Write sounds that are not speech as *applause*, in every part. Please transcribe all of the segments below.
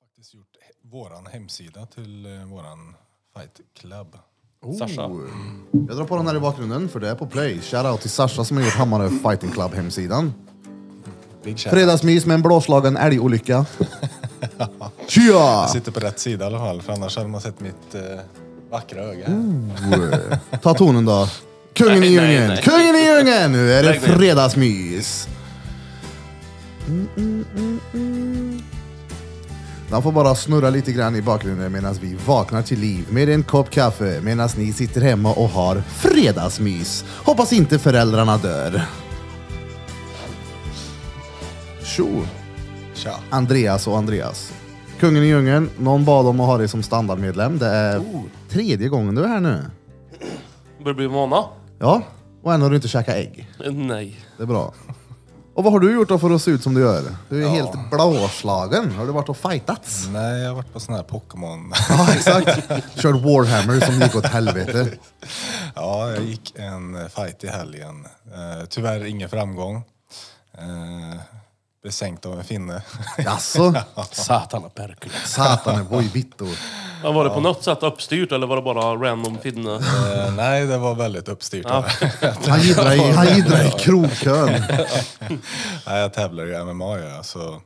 faktiskt gjort he- våran hemsida till eh, våran fight club. Sasha. Jag drar på den här i bakgrunden för det är på play. Shoutout till Sasha som har gjort Hammarö Fighting Club hemsidan. Big shout. Fredagsmys med en *laughs* blåslagen älgolycka. Tja! Jag sitter på rätt sida i alla fall, för annars hade man sett mitt eh, vackra öga. här. Ta tonen då. Kungen i Nej, nej, djungeln! nej. Kungen i djungeln! Nu är det Lägg ner. fredagsmys. Mm, mm, mm, mm. Den får bara snurra lite grann i bakgrunden medan vi vaknar till liv med en kopp kaffe medan ni sitter hemma och har fredagsmys. Hoppas inte föräldrarna dör. Tjo! Tja. Andreas och Andreas. Kungen i djungeln, någon bad om att ha dig som standardmedlem. Det är Oh. tredje gången du är här nu. Börjar bli vana? Ja, och än har du inte käkat ägg. Eh, Nej. Det är bra. Och vad har du gjort då för att se ut som du gör? Du är helt blåslagen. Har du varit och fightats? Nej, jag har varit på sån här Pokémon. *laughs* Ja, exakt. Kört Warhammer som gick åt helvete. ja, jag gick en eh, fight i helgen. Eh, tyvärr ingen framgång. Eh, blev sänkt av en finne. *laughs* Jaså? Satana Perkules. Satane, boy bitto. Ja, var det på något sätt uppstyrt eller var det bara random finne? eh, nej, det var väldigt uppstyrt. Ja. Han jiddrar i, han jiddrar i krogkön. Nej, jag tävlar i MMA. Ja. Så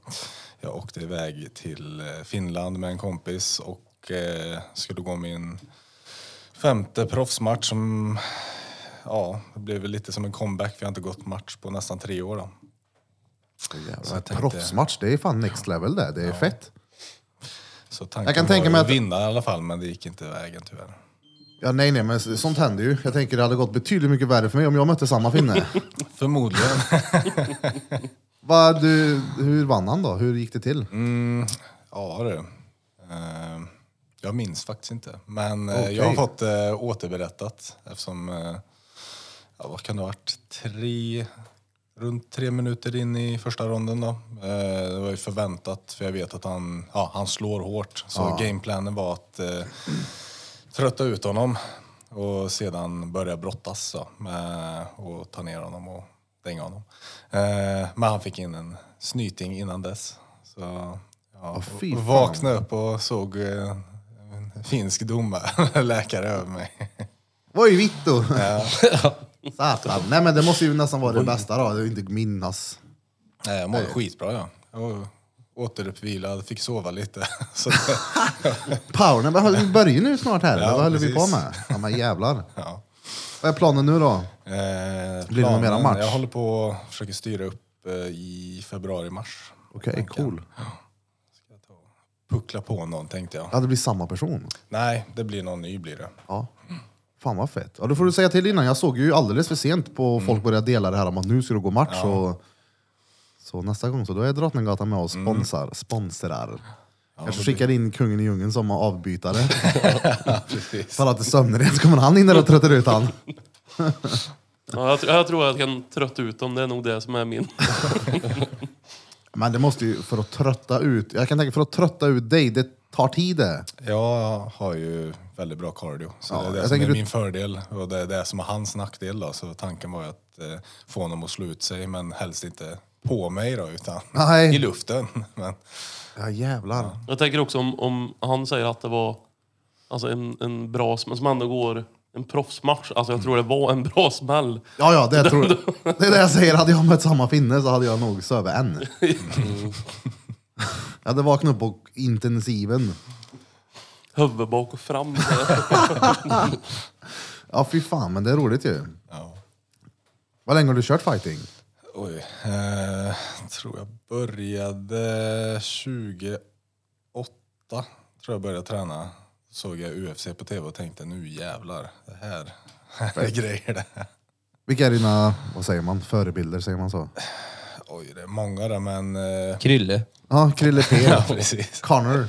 jag åkte iväg till eh, Finland med en kompis och eh, skulle gå min femte proffsmatch som ja, det blev väl lite som en comeback för jag har inte gått match på nästan tre år. Då. Så jag tänkte- Proffsmatch, det är fan next level det. Det är fett. Så tanken Jag kan var tänka ju mig att att- vinna i alla fall, men det gick inte vägen tyvärr. Ja, nej, nej, men sånt händer ju. Jag tänker det hade gått betydligt mycket värre för mig om jag mötte samma finne. Förmodligen. Vad, du, hur vann han då? Hur gick det till? Ja du. Eh, jag minns faktiskt inte. Men eh, Okej. jag har fått eh, återberättat eftersom, eh, ja, vad kan det ha varit, tre, runt tre minuter in i första ronden då. Eh, det var ju förväntat för jag vet att han, ja, han slår hårt. Så gameplanen var att eh, trötta ut honom och sedan börja brottas så, med, och ta ner honom och dänga honom. Eh, men han fick in en snyting innan dess. Så ja, fy fan. vaknade upp och såg eh, en finsk domare, *laughs* läkare över mig. Oj, Vitto! *laughs* Satan. Nej, men det måste ju nästan vara det bästa då. Det är ju inte minnas. Nej, jag mådde skitbra ja. Eh, Jag var återuppvilad, fick sova lite. *laughs* Så det, *laughs* Powern, vad höll- vi börjar nu snart här. Ja, vad höll vi precis. på med? Ja, men jävlar. ja. Vad är planen nu då? Eh, Blir det någon mera planen- match? Jag håller på och försöker styra upp eh, i februari-mars. Okej, cool. Puckla på någon tänkte jag. Ja, det blir samma person. Nej, det blir någon ny blir det. Ja. Fan vad fett. Ja, då får du säga till innan. Jag såg ju alldeles för sent på Mm. folk började dela det här om att nu ska du gå match. Och... Så nästa gång så då är Drottninggatan med och Mm. sponsar, sponsrar. Kanske skickar in kungen i djungeln *laughs* som avbytare. Precis. För att det sömnrent så kommer han in där och tröttar ut han. Ja, jag, tr- jag tror jag kan trötta ut dem. Det är nog det som är min. Men det måste ju, för att trötta ut, jag kan tänka för att trötta ut dig, det tar tid det. Jag har ju väldigt bra cardio, så Ja, det är jag det som är tänker du- min fördel och det är det som är hans nackdel. Då. Så tanken var ju att eh, få honom att slå ut sig, men helst inte på mig då, utan Nej. i luften. *laughs* Men, Ja jävlar. Jag tänker också om, om han säger att det var alltså en, en bra smäll som ändå går en proffsmatch. Alltså jag tror det var en bra smäll. Ja ja, det tror jag. Det är det jag säger, hade jag mött samma finne så hade jag nog sövit än. Mm. Jag hade vaknat upp på intensiven. Huvud bak och fram. Ja fy fan, men det är roligt ju. ja. Vad länge har du kört fighting? Oj, eh, tror jag började 28, tror jag började träna. Såg jag UFC på tv och tänkte nu jävlar, det här, *laughs* här är grejer det här. Vilka är dina, vad säger man, förebilder? Säger man så? Oj, det är många där men... Eh, Krille. *laughs* Ja, Krille P. ja, precis. Connor.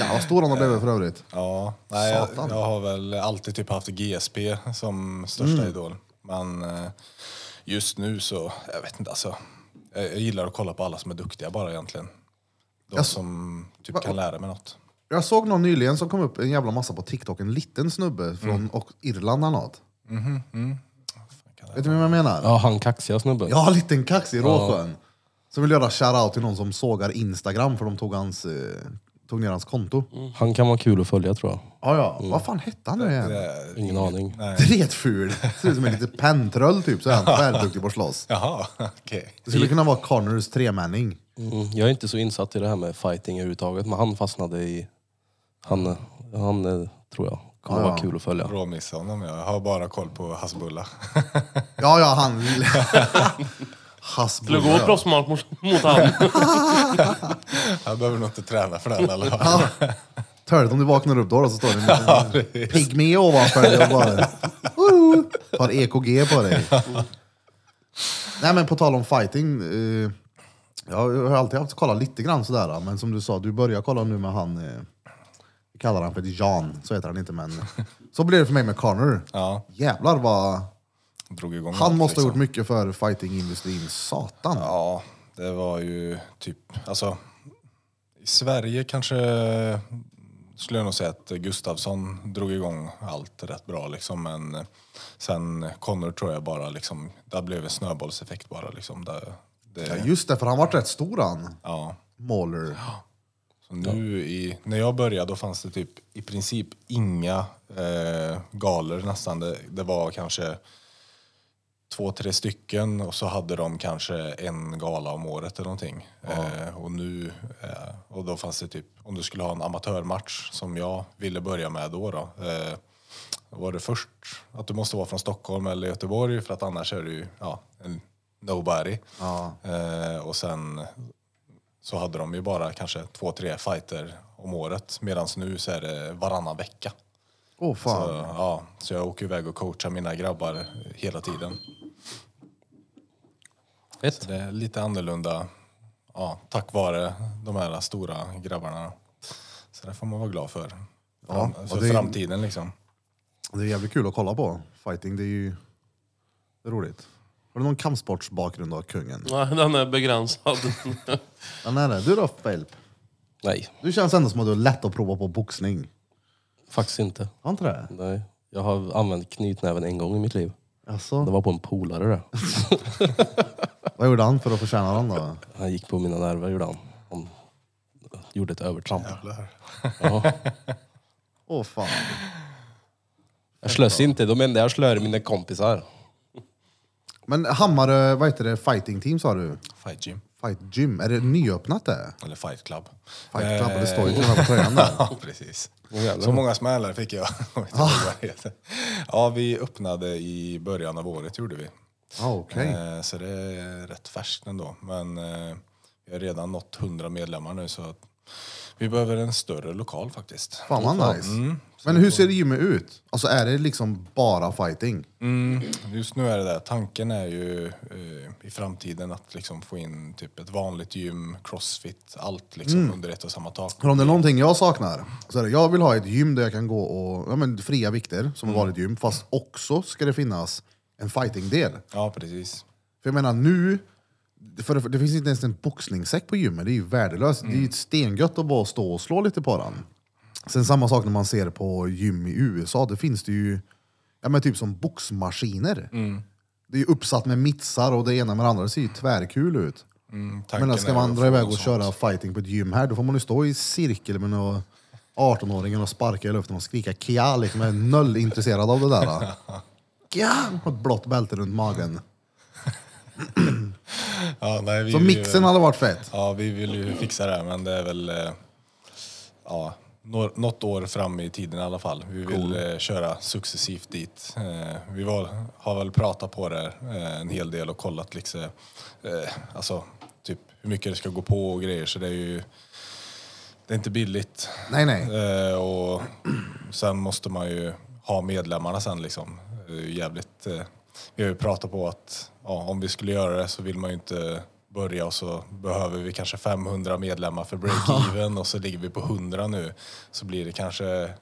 Ja, vad stor han har blivit för övrigt. Ja, nej, jag, Satan. jag har väl alltid typ haft GSP som största Mm. idol. Men eh, just nu så, jag vet inte alltså. Jag, jag gillar att kolla på alla som är duktiga bara egentligen. De Alltså, som typ kan lära mig något. Jag såg någon nyligen som kom upp en jävla massa på TikTok, en liten snubbe från och Irland eller något. Vet du vad jag menar? Ja, han kaxiga snubben. Ja, en liten kaxig råskön. Som vill göra shoutout till någon som sågar Instagram för de tog hans eh, tog ner hans konto. Han kan vara kul att följa tror jag. Ja, ja. Vad fan hette han nu igen? Eh, Ingen aning. Nej. Dretful. Ser ut som en liten pentroll typ, så är han tvärduktig på att slåss. Jaha, *laughs* okej. Det skulle kunna vara Connors tremänning. Mm, jag är inte så insatt i det här med fighting överhuvudtaget, men han fastnade i... Han, eh, han eh, tror jag kommer vara kul att följa. Råmissa honom. Jag har bara koll på Hasbulla. *laughs* Ja, ja, han... Skulle gå Hasbulla. ja. proffsmatch mot, mot han. Jag behöver nog inte träna för den i alla fall. Ja. Törligt om du vaknar upp då, då så står det en liten pygmé ovanför dig och bara Woho! tar EKG på dig. Nej men på tal om fighting. Eh, jag har alltid haft kolla lite grann sådär. Men som du sa, du börjar kolla nu med han, eh, vi kallar han för Jan, så heter han inte men. Så blev det för mig med Connor. *laughs* Ja, Jävlar vad, drog igång han något, måste ha liksom. gjort mycket för fightingindustrin, satan. Ja, det var ju typ, alltså i Sverige kanske skulle jag nog säga att Gustafsson drog igång allt rätt bra liksom men eh, sen Connor tror jag bara liksom, där blev en snöbollseffekt bara liksom. Där, Ja, det, Just det, för han vart rätt stor han, ja. Mauler. Så nu i, när jag började då fanns det typ i princip inga eh, galor nästan. Det, det var kanske två, tre stycken och så hade de kanske en gala om året eller någonting. Eh, och, nu, eh, och då fanns det typ, om du skulle ha en amatörmatch som jag ville börja med då, då eh, var det först att du måste vara från Stockholm eller Göteborg för att annars är du ju ja, en nobody. Ja. Eh, och sen så hade de ju bara kanske två, tre fighter om året. Medan nu så är det varannan vecka. Åh fan. Så, ja, så jag åker iväg och coachar mina grabbar hela tiden. Fett. Det är lite annorlunda ja, tack vare de här stora grabbarna. Så det får man vara glad för. Fram, Ja, och för det är- framtiden liksom. Det är jävligt kul att kolla på. Fighting, det är ju det är roligt. Har du någon kampsportsbakgrund då, kungen? Nej, den är begränsad. *laughs* Ja, nej, nej. Du då, Felp? Nej, Du känns ändå som att du är lätt att prova på boxning. faktiskt inte. Har inte det? Nej. Jag har använt knytnäven en gång i mitt liv. Det Alltså, var på en polare det. vad gjorde han för att förtjäna den då? Han gick på mina nerver gjorde han. Han gjorde ett övertramp. Ja. Åh fan. Jag slös inte, de enda jag slör är mina kompisar. Men Hammarö, vad heter det, fighting team sa du? Fight gym, Fight gym, är det nyöppnat det? eller fight club. Fight club, Eh, det står ju till och med på *laughs* tröjan där. *laughs* Ja, precis. jävlar. Så många smällar fick jag. *laughs* Jag vet inte Ah. vad det heter. ja, vi öppnade i början av året gjorde vi. Ah, Okej. Eh, Så det är rätt färskt ändå. Men eh, vi har redan nått 100 medlemmar nu så att vi behöver en större lokal faktiskt. Fan Mm, vad nice. Men hur ser gymmet ut? Alltså är det liksom bara fighting? Mm, Just nu är det där. Tanken är ju eh, i framtiden att liksom få in typ ett vanligt gym, crossfit, allt liksom Mm. under ett och samma tak. För om det är någonting jag saknar, så är det, jag vill ha ett gym där jag kan gå och, ja men fria vikter, som ett vanligt gym, fast också ska det finnas en fighting-del. Ja, precis. För jag menar nu, för det, det finns inte ens en boxningssäck på gymmet, det är ju värdelöst. Det är ju stengött att bara stå och slå lite på den. Sen samma sak när man ser på gym i USA, det finns det ju, ja men typ som boxmaskiner. Det är ju uppsatt med mittsar och det ena med det andra, det ser ju tvärkul ut. Mm, Men tanken då är ska ju man att dra få iväg något och sånt. köra fighting på ett gym här, då får man ju stå i cirkel med några 18-åringar och sparka i luften och skrika kia, liksom jag är noll intresserad av *laughs* det där. Kia! Och ett blått bälte runt magen. Ja, nej, vi Så vill ju- mixen hade varit fett. Ja, vi vill ju fixa det här, men det är väl eh, ja, nå- något år fram i tiden i alla fall. Vi vill eh, köra successivt dit. Eh, vi var, har väl pratat på det eh, en hel del och kollat liksom, eh, alltså, typ hur mycket det ska gå på och grejer, så det är ju det är inte billigt. Nej, nej. Eh, och sen måste man ju ha medlemmarna sen liksom. Det är ju jävligt... Eh, vi har ju pratat på att ja, om vi skulle göra det så vill man ju inte börja och så behöver vi kanske 500 medlemmar för break-even och så ligger vi på 100 nu. Så blir det kanske...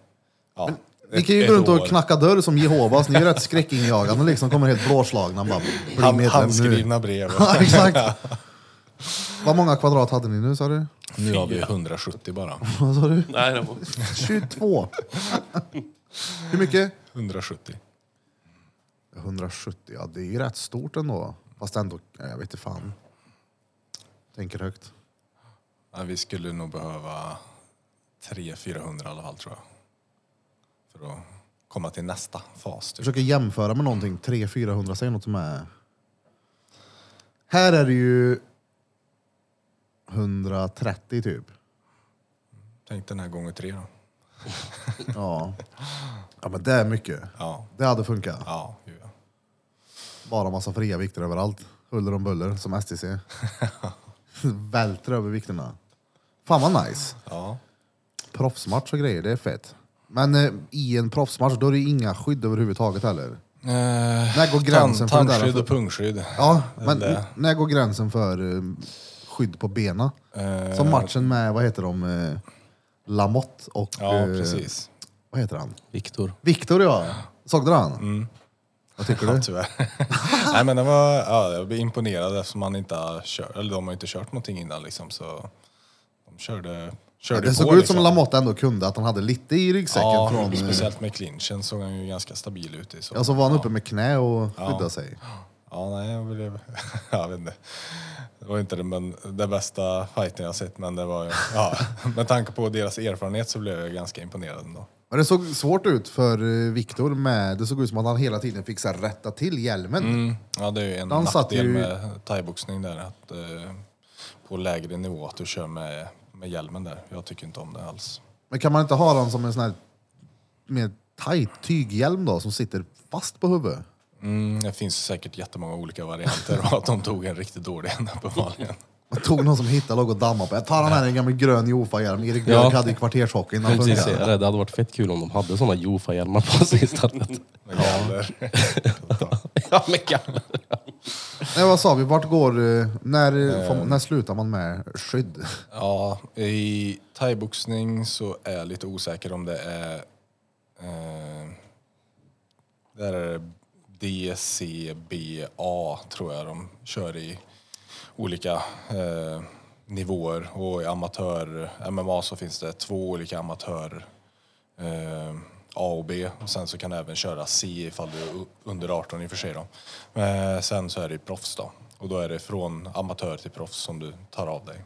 Ja, Ni kan ju ett- gå ett runt och år. knacka dörr som Jehovas, ni är rätt skräckinjagande liksom, kommer helt blåslagna. Bara, bli Hand, medlem nu. handskrivna brev. *laughs* Ja, exakt. Vad många kvadrat hade ni nu sa du? nu har vi 170 bara. Vad sa du? *laughs* Nej, det var... 22. *laughs* Hur mycket? 170. 170, ja det är ju rätt stort ändå. Fast ändå, ja, jag vet inte fan. Tänker högt. Ja, vi skulle nog behöva 300-400 i alla fall tror jag. För att komma till nästa fas. Typ. Försöker jämföra med någonting. 300-400, säg något som är... Här är det ju 130 typ. Tänk den här gånger tre då. Ja. ja, men det är mycket. Ja, Det hade funkat. ja, ju, ja. Bara massa fria vikter överallt. Huller om buller, som STC. Välter över vikterna. Fan vad nice. ja. Proffsmatch och grejer, det är fett. Men eh, i en proffsmatch, då är det ju inga skydd överhuvudtaget heller. När går gränsen för det Tan- där? Tandskydd och pungskydd. Ja, men Eller- när går gränsen för eh, skydd på bena? Eh, Som matchen med, vad heter de, eh, Lamotte och... Ja, eh, precis. Vad heter han? Viktor. Viktor ja. Såg du han? Mm, *laughs* Vad tycker du? Ja, tyvärr. Nej, men den var, ja, jag blev imponerad eftersom man inte har kört, eller de har inte kört någonting innan liksom. Så de körde, körde det på. såg ut liksom. som Lamotte ändå kunde, att han hade lite i ryggsäcken Ja, från... eh, speciellt med clinchen såg han ju ganska stabil ut i. Så. Ja, så var han uppe med knä och skyddade sig. Ja, nej, jag blev... *laughs* Jag vet inte. Det var inte den, men, den bästa fighten jag sett, men det var... Ja, *laughs* med tanke på deras erfarenhet så blev jag ganska imponerad ändå. Men det såg svårt ut för eh, Viktor med... Det såg ut som att han hela tiden fick så här, rätta till hjälmen. Mm, ja, det är ju en Han satt nackdel ju- med thaiboxning där, att eh, på lägre nivå att du kör med, med hjälmen där. Jag tycker inte om det alls. Men kan man inte ha den som en sån här mer tight tyghjälm då, som sitter fast på huvudet? Mm, det finns säkert jättemånga olika varianter och att de tog en riktigt dålig en *laughs* uppenbarligen. Man tog någon som hittade, låg och dammade på. Jag tar den här en gammal grön Jofa-hjälm. Erik Ja. Björk hade ju kvartershockeyn. Jag Den tänkte precis säga fungerade. det, det hade varit fett kul om de hade såna Jofa-hjälmar på sig istället. Med *laughs* galler. *laughs* ja, men galler. Nej, vad sa vi? Vart går... eh, När, får- när slutar man med skydd? *laughs* Ja, i thaiboxning så är jag lite osäker om det är... Eh, där är det DCBA, tror jag de kör i olika eh, nivåer. Och i amatör-MMA så finns det två olika amatör... Eh, A och B och sen så kan du även köra C ifall du är u- under 18 i och för sig då. Eh, sen så är det ju proffs då och då är det från amatör till proffs som du tar av dig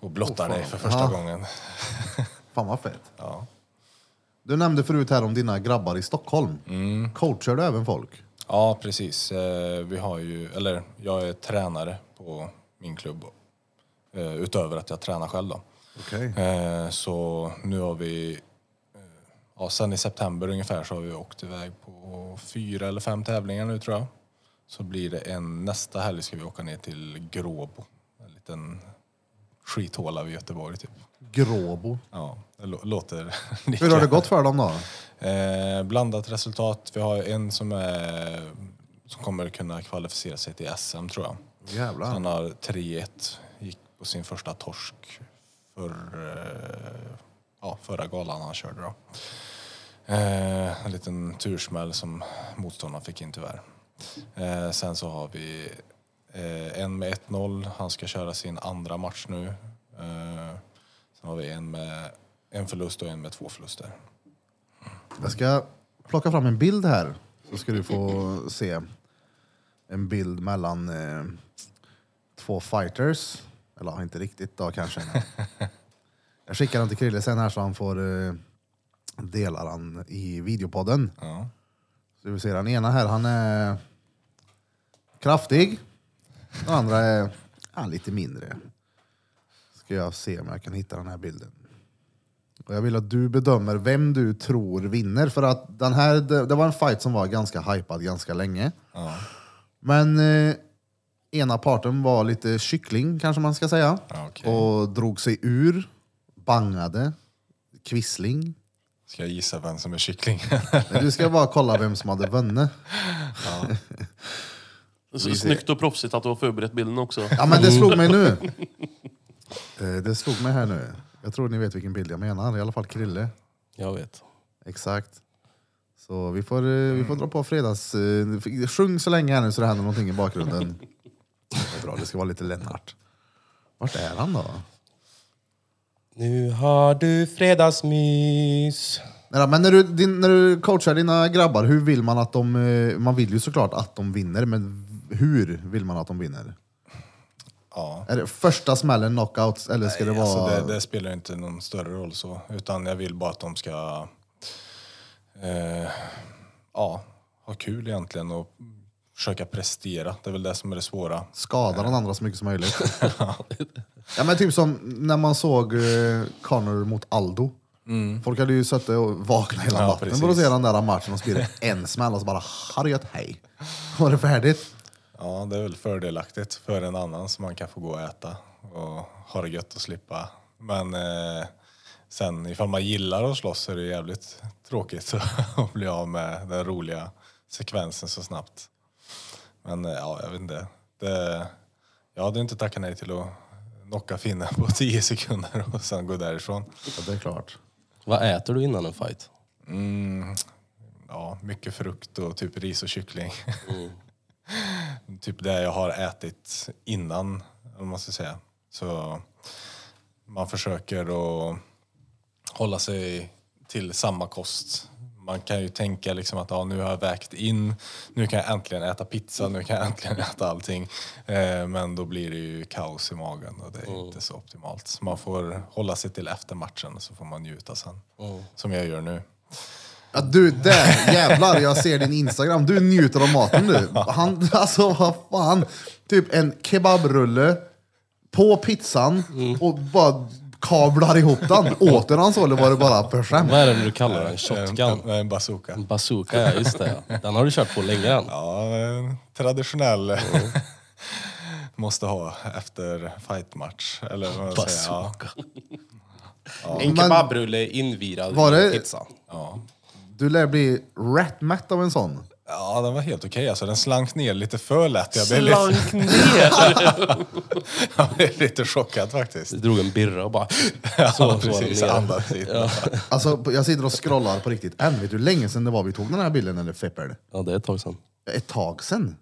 och blottar dig för första Ja. gången. Fan vad fett. Ja. Du nämnde förut här om dina grabbar i Stockholm. Mm. Coachar du även folk? Ja, precis. Eh, Vi har ju, eller jag är tränare på min klubb eh, utöver att jag tränar själv då. Okej. Eh, Så nu har vi, eh, ja, sen i september ungefär så har vi åkt iväg på fyra eller fem tävlingar nu tror jag. Så blir det en, nästa helg ska vi åka ner till Gråbo, en liten skithåla vid Göteborg typ. Gråbo. Ja, det lå- låter... *laughs* Hur har det gått för dem då? Eh, blandat resultat. Vi har en som, är, som kommer kunna kvalificera sig till SM tror jag. Jävlar. Han har 3-1, gick på sin första torsk för, eh, ja, förra galan han körde då. Eh, en liten tursmäll som motståndaren fick in tyvärr. Eh, sen så har vi eh, en med 1-0, han ska köra sin andra match nu. Eh, sen har vi en med en förlust och en med två förluster. Jag ska plocka fram en bild här. Så ska du få se en bild mellan eh, två fighters. Eller ja, inte riktigt då kanske. Jag skickar den till Krille sen här så han får eh, dela den i videopodden. Ja. Så vi ser den ena här, han är kraftig. Den andra är ja, lite mindre. Ska jag se om jag kan hitta den här bilden. Och jag vill att du bedömer vem du tror vinner. För att den här, det, det var en fight som var ganska hypad ganska länge. Ja. Men eh, ena parten var lite kyckling kanske man ska säga. Ja, okej. Och drog sig ur, bangade, kvissling. Ska jag gissa vem som är kyckling? *laughs* Men Du ska bara kolla vem som hade vunnit. Så Snyggt och proffsigt att du har förberett bilden också. Ja men det slog mig nu. Eh, Det slog mig här nu. Jag tror ni vet vilken bild jag menar, i alla fall Krille. Jag vet. Exakt. Så vi får, eh, vi får dra på fredags... eh, Sjung så länge här nu så det händer någonting i bakgrunden. Det är bra, det ska vara lite Lennart. Vart är han då? Nu har du fredagsmys. Nej, då, Men när du, din, när du coachar dina grabbar, hur vill man att de... eh, Man vill ju såklart att de vinner, men hur vill man att de vinner? Ja. Är det första smällen knockout eller ska det Nej, vara... alltså det, det spelar inte någon större roll så, utan jag vill bara att de ska eh, ja, ha kul egentligen och försöka prestera. Det är väl det som är det svåra. skada den andra så mycket som möjligt. *laughs* ja, men typ som när man såg eh, Connor mot Aldo. Folk hade ju suttit och vaknat hela Mm. Ja, natten precis. för att se den där matchen och spela en smäll och så bara harriet hej. Var det färdigt? Ja, det är väl fördelaktigt för en annan som man kan få gå och äta och ha det gött och slippa. Men eh, sen ifall man gillar att slåss så är det jävligt tråkigt *laughs* att bli av med den roliga sekvensen så snabbt. Men eh, ja, jag vet inte. Det, jag hade inte tackat nej till att knocka finnen på 10 sekunder *laughs* och sen gå därifrån. Ja, det är klart. Vad äter du innan en fight? Mm, ja, mycket frukt och typ ris och kyckling. *laughs* typ det jag har ätit innan, om man ska säga. Så man försöker att hålla sig till samma kost. Man kan ju tänka liksom att ja, nu har jag vägt in, nu kan jag äntligen äta pizza, nu kan jag äntligen *laughs* äta allting. Eh, men då blir det ju kaos i magen och det är inte så optimalt. Så man får hålla sig till efter matchen och så får man njuta sen. Mm. Som jag gör nu. Ja, du, där jävlar, jag ser din Instagram. Du njuter av maten du. Han, alltså vad fan. Typ en kebabrulle på pizzan och bara kavlar ihop den. Åt den han så eller var det bara för skämt? Vad är det du kallar den? En, Shotgun? Eh, en, en bazooka. En bazooka, ja just det. ja. Den har du kört på länge den. Ja, en traditionell. *laughs* Måste ha efter fightmatch. Eller vad jag säger. Ja, Bazooka. En Men- kebabrulle invirad Var det- i pizza. Du lär bli rätt mätt av en sån. ja, den var helt okej. Alltså, den slank ner lite för lätt. Jag blev lite, Slank ner! *laughs* jag blev lite chockad faktiskt. Du drog en birra och bara... *laughs* Ja, så var precis. den ner. Andas hit. Alltså, jag sitter och scrollar på riktigt än. Vet du hur länge sedan det var vi tog den här bilden eller Fepper? Ja, det är ett tag sedan. Ett tag sedan.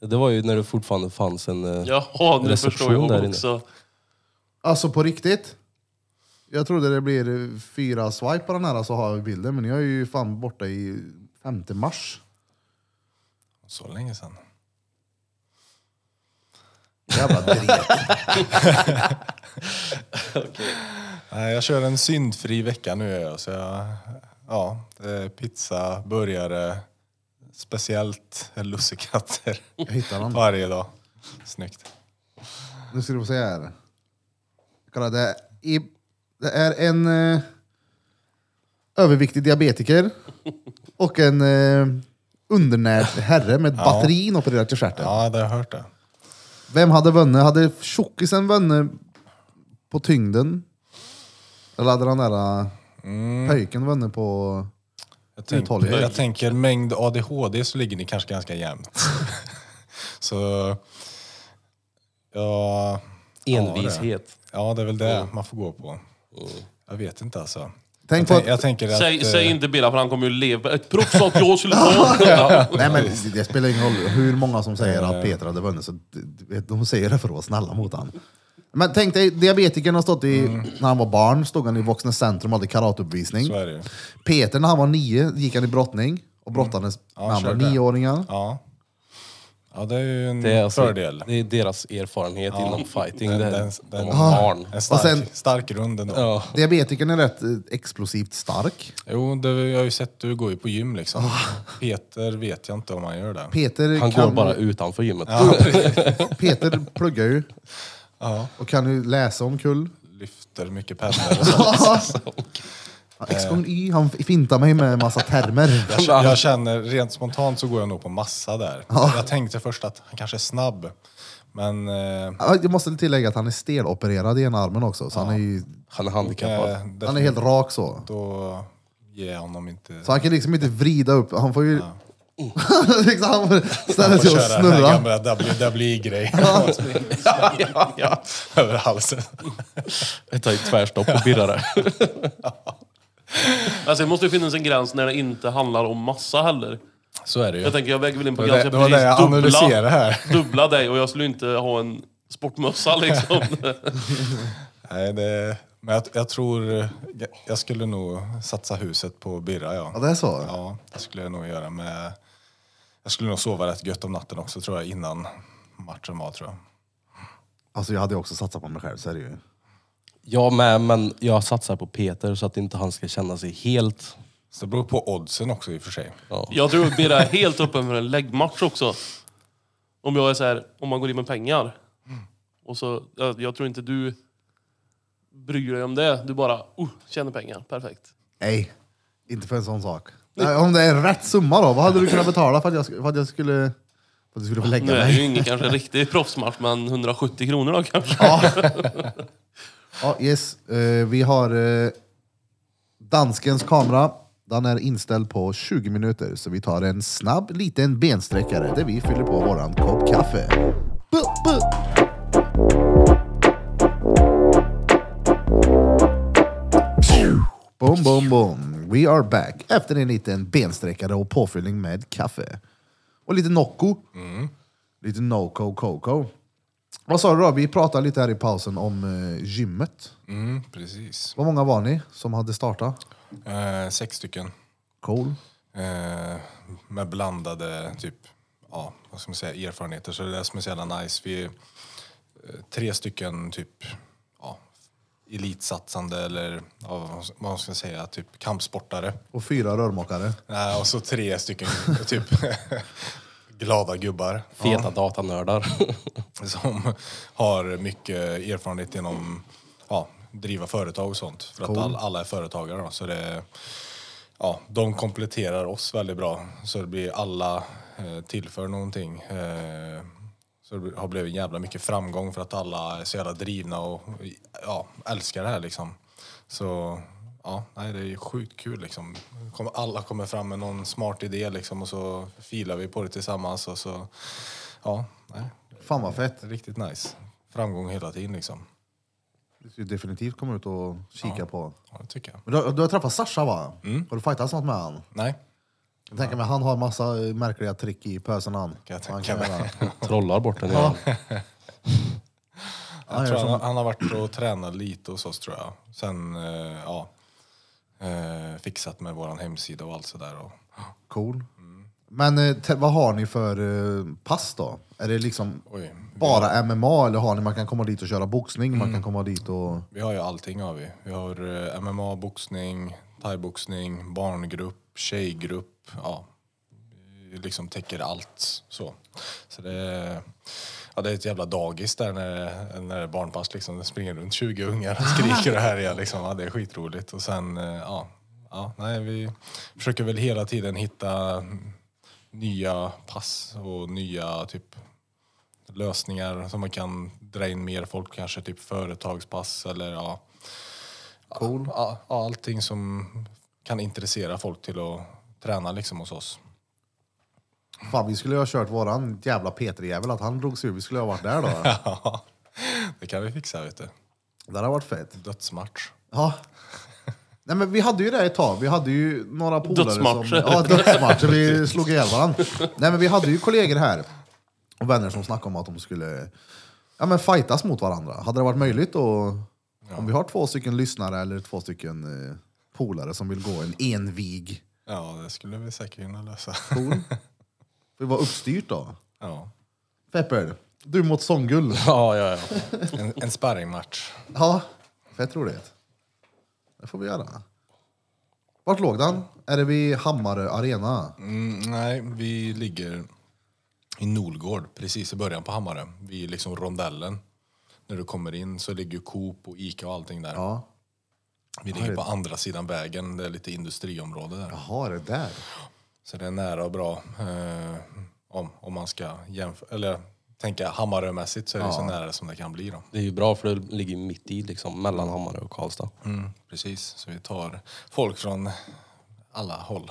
Det var ju när det fortfarande fanns en... eh, Jaha, nu Reception förstår jag där inne. också. Alltså på riktigt. Jag trodde det blir eh, fyra swipe på den här så har vi bilden, men jag är ju fan borta i 5 mars. Så länge sedan. Jävla dret. Nej, jag kör en syndfri vecka nu. gör Jag, så jag, ja, det är pizza, burgare, speciellt *laughs* lussekatter Jag hittar den. varje dag. Snyggt. Nu ska du få se här. Kolla, det är, i, det är en eh, överviktig diabetiker och en eh, undernärd herre med ett batteri inopererat i stjärten. Ja, det har jag hört det. Vem hade vunnit? Hade tjockisen vunnit på tyngden? Eller hade den där mm. pöjken vunnit på... Jag Uthållighet. tänker, jag tänker mängd ADHD så ligger ni kanske ganska jämnt. *laughs* så ja, Envishet. ja, det är väl det man får gå på. Jag vet inte alltså. Tänk Jag, på tän- att, jag tänker att... Mm. Säg, eh, säg inte Billa för han kommer ju leva. Ett proffs sa att jag skulle ta *laughs* ja. nej men det- det spelar ingen roll hur många som säger att Peter hade vunnit, så d- d- de säger det för att vara snälla mot han. Men tänk dig, diabetikern har stått i, när han var barn, stod han i Vuxna Centrum och hade karateuppvisning. Mm. Så är det Mm. ju. Peter när han var nio gick han i brottning och brottades när han var kör det. nioåringar. Ja. ja, det är ju en Det är, alltså, fördel. det är deras erfarenhet inom fighting. Den- det är, den- den- de var barn. En stark, sen- stark rund ändå. Ja. Diabetikern är rätt eh, explosivt stark. Jo, det, jag har ju sett du går ju på gym liksom. Peter vet jag inte om han gör det. Peter Han kan... går bara utanför gymmet. Peter pluggar ju *laughs* Ja, och kan ju läsa om kull. lyfter mycket pennor och sånt. X Eh. gånger Y, han fintar mig med en massa termer. *laughs* Jag, känner- jag känner, rent spontant så går jag nog på massa där. Jag tänkte först att han kanske är snabb, men eh, Ja, Jag måste tillägga att han är stelopererad i ena armen också, så han, är ju, *laughs* Han är handikappad. eh, han är helt rak så. då ger jag honom inte... Så han kan liksom inte vrida upp, han får ju... *laughs* liksom, han får ställa Han sig får och köra den här snurra. gamla WWE-grejen Ja, ja, ja. över halsen. Ett tag i tvärstopp och birrare. Alltså, det måste ju finnas en gräns när det inte handlar om massa heller. Så är det ju. Jag tänker jag väger väl in på Det var det- gränsen. det var det jag analyserade här. dubbla dig och jag skulle inte ha en sportmössa *laughs* liksom. Nej, det, men jag, jag tror... Jag skulle nog satsa huset på Birra, Ja, ja. det är så. Ja, det skulle jag nog göra med... Jag skulle nog sova rätt gött om natten också, tror jag, innan matchen var, tror jag. Alltså jag hade ju också satsat på mig själv, så är det ju. Jag med, men jag satsar på Peter så att inte han ska känna sig helt... Så det beror på oddsen också i och för sig. Jag tror Birra är helt öppen för en läggmatch också. Om jag är så här, om man går in med pengar. Mm. Och så, jag, jag tror inte du bryr dig om det. Du bara, oh, tjänar pengar. Perfekt. Nej, inte för en sån sak. Nej, om det är rätt summa då, vad hade du kunnat betala för att jag, sk- för att jag skulle, för att du skulle få lägga Nu är det ju mig? ingen kanske riktig proffsmatch, men 170 kronor då kanske. *laughs* Ja, yes. Eh, vi har eh, danskens kamera. Den är inställd på 20 minuter, så vi tar en snabb liten bensträckare där vi fyller på våran kopp kaffe. Bu, bu. Boom, boom, boom. We are back. Efter en liten bensträckare och påfyllning med kaffe. Och lite Nocco. Lite Noco Coco. Vad sa du då? Vi pratade lite här i pausen om eh, gymmet. Mm, precis. Vad många var ni som hade startat? Eh, sex stycken. Cool. Eh, med blandade typ, ja, vad ska man säga, erfarenheter. Så det är det som är så jävla nice. Vi är eh, tre stycken typ ja, elitsatsande eller ja, vad ska man säga, typ kampsportare. Och fyra rörmokare. Eh, och så tre stycken *laughs* typ glada gubbar Feta datanördar. *laughs* *laughs* som har mycket erfarenhet genom ja, driva företag och sånt. För att all, alla är företagare. Då, så det, ja, de kompletterar oss väldigt bra. Så det blir alla eh, tillför någonting. Eh, så det har blivit jävla mycket framgång för att alla är så jävla drivna och ja, älskar det här liksom. Så ja, nej, det är sjukt kul liksom. Kommer- Alla kommer fram med någon smart idé liksom och så filar vi på det tillsammans och så ja, nej. Fan vad fett. Riktigt nice. Framgång hela tiden liksom. Du ska ju definitivt komma ut och kika på. Ja, Mm. det tycker jag. Men du, har- du har träffat Sasha va? Har du fightats något med han? Nej. Jag tänker mig, han har massa eh, märkliga trick i pösen han. Kan jag han tänka mig. göra. *laughs* Trollar bort den Ja. igen. Jag tror han, han har varit och tränat lite hos oss tror jag. Sen, eh, ja. Eh, fixat med våran hemsida och allt sådär. Och, Cool. Mm. Men eh, te- vad har ni för eh, pass då? Är det liksom oj. bara MMA eller har ni man kan komma dit och köra boxning? Man Mm. kan komma dit och... Vi har ju allting har vi. Vi har eh, MMA, boxning, thaiboxning, barngrupp, tjejgrupp. Ja. Vi liksom täcker allt så. Så det är, ja, det är ett jävla dagis där när, när det är barnpass liksom. Det springer runt 20 ungar och skriker och härjar liksom. Ja, det är skitroligt. Och sen, eh, ja. ja nej, vi försöker väl hela tiden hitta nya pass och nya typ lösningar som man kan dra in mer folk kanske, typ företagspass eller ja. Cool. Ja, ja, allting som kan intressera folk till att träna liksom hos *laughs* oss. Fan, vi skulle ju ha kört våran jävla Peter-jävel, att han drog sig ur. Vi skulle ha varit där då. Ja, det kan vi fixa vet du. det hade varit fett. Dödsmatch. Ja. Nej, men vi hade ju det ett tag. Vi hade ju några polare som... Dödsmatcher. Ja, dödsmatcher. Vi slog ihjäl varandra. Nej, men vi hade ju kollegor här och vänner som snackade om att de skulle ja, men fightas mot varandra. Hade det varit möjligt och Om vi har två stycken lyssnare eller två stycken eh, polare som vill gå en envig... Ja, det skulle vi säkert kunna lösa. *laughs* Cool. Det var uppstyrt då. Ja. Pepper, du mot Songul. Ja, ja, ja. En, en sparringmatch. Ja, fett roligt. Det får vi göra. Vart låg den? Är det vid Hammarö arena? Mm, nej, vi ligger i Nolgård, precis i början på Hammarö. Vi är liksom rondellen. När du kommer in så ligger ju Coop och Ica och allting där. Ja. Vi ligger på andra sidan vägen, det är lite industriområde där. Jaha, det där. Så det är nära och bra. Eh, om, om man ska jämföra, eller tänka Hammarömässigt så är det så nära som det kan bli då. Det är ju bra för det ligger ju mitt i liksom, mellan Hammarö och Karlstad. Mm, Precis, så vi tar folk från alla håll.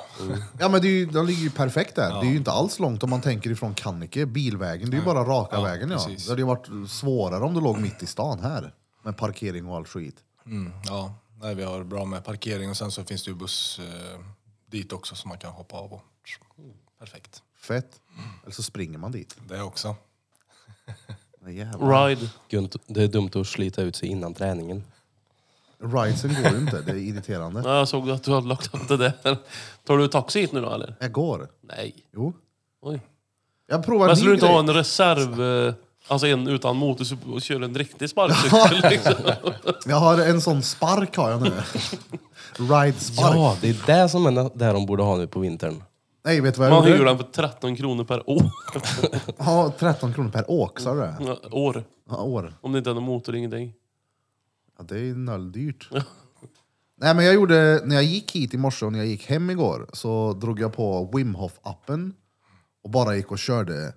Ja, men det är ju, den ligger ju perfekt där. Det är ju inte alls långt om man tänker ifrån Kannike, bilvägen. Det är ju bara raka vägen. Ja. precis. Det hade ju varit svårare om du låg mitt i stan här. Med parkering och all skit. *laughs* Mm, ja, nej, vi har bra med parkering och sen så finns det ju buss eh, dit också som man kan hoppa av och perfekt. Fett. Eller så springer man dit. Det också. Men jävlar. Ride. Gunt- Det är dumt att slita ut sig innan träningen. Ridesen går ju inte, det är irriterande. *laughs* Ja, jag såg att du hade lagt upp det där. Tar du taxi hit nu då eller? Jag går. Nej. Jo. Oj. Jag provar en Men skulle du ny inte ha grej. en reserv... eh, Alltså en utan motor och kör en riktig sparkcykel. *laughs* liksom. Jag har en sån spark har jag nu. Ride-spark. Ja, det är det som är nä- det de borde ha nu på vintern. Nej, vet du vad jag Man hyr gjorde? den för 13 kronor per år. *laughs* Ja, 13 kronor per åk, sa du det? år. Ja, år. Om det inte är någon motor, ingenting. Ja, det är ju nolldyrt. Nej, men jag gjorde, när jag gick hit i morse och när jag gick hem igår så drog jag på Wim Hof appen och bara gick och körde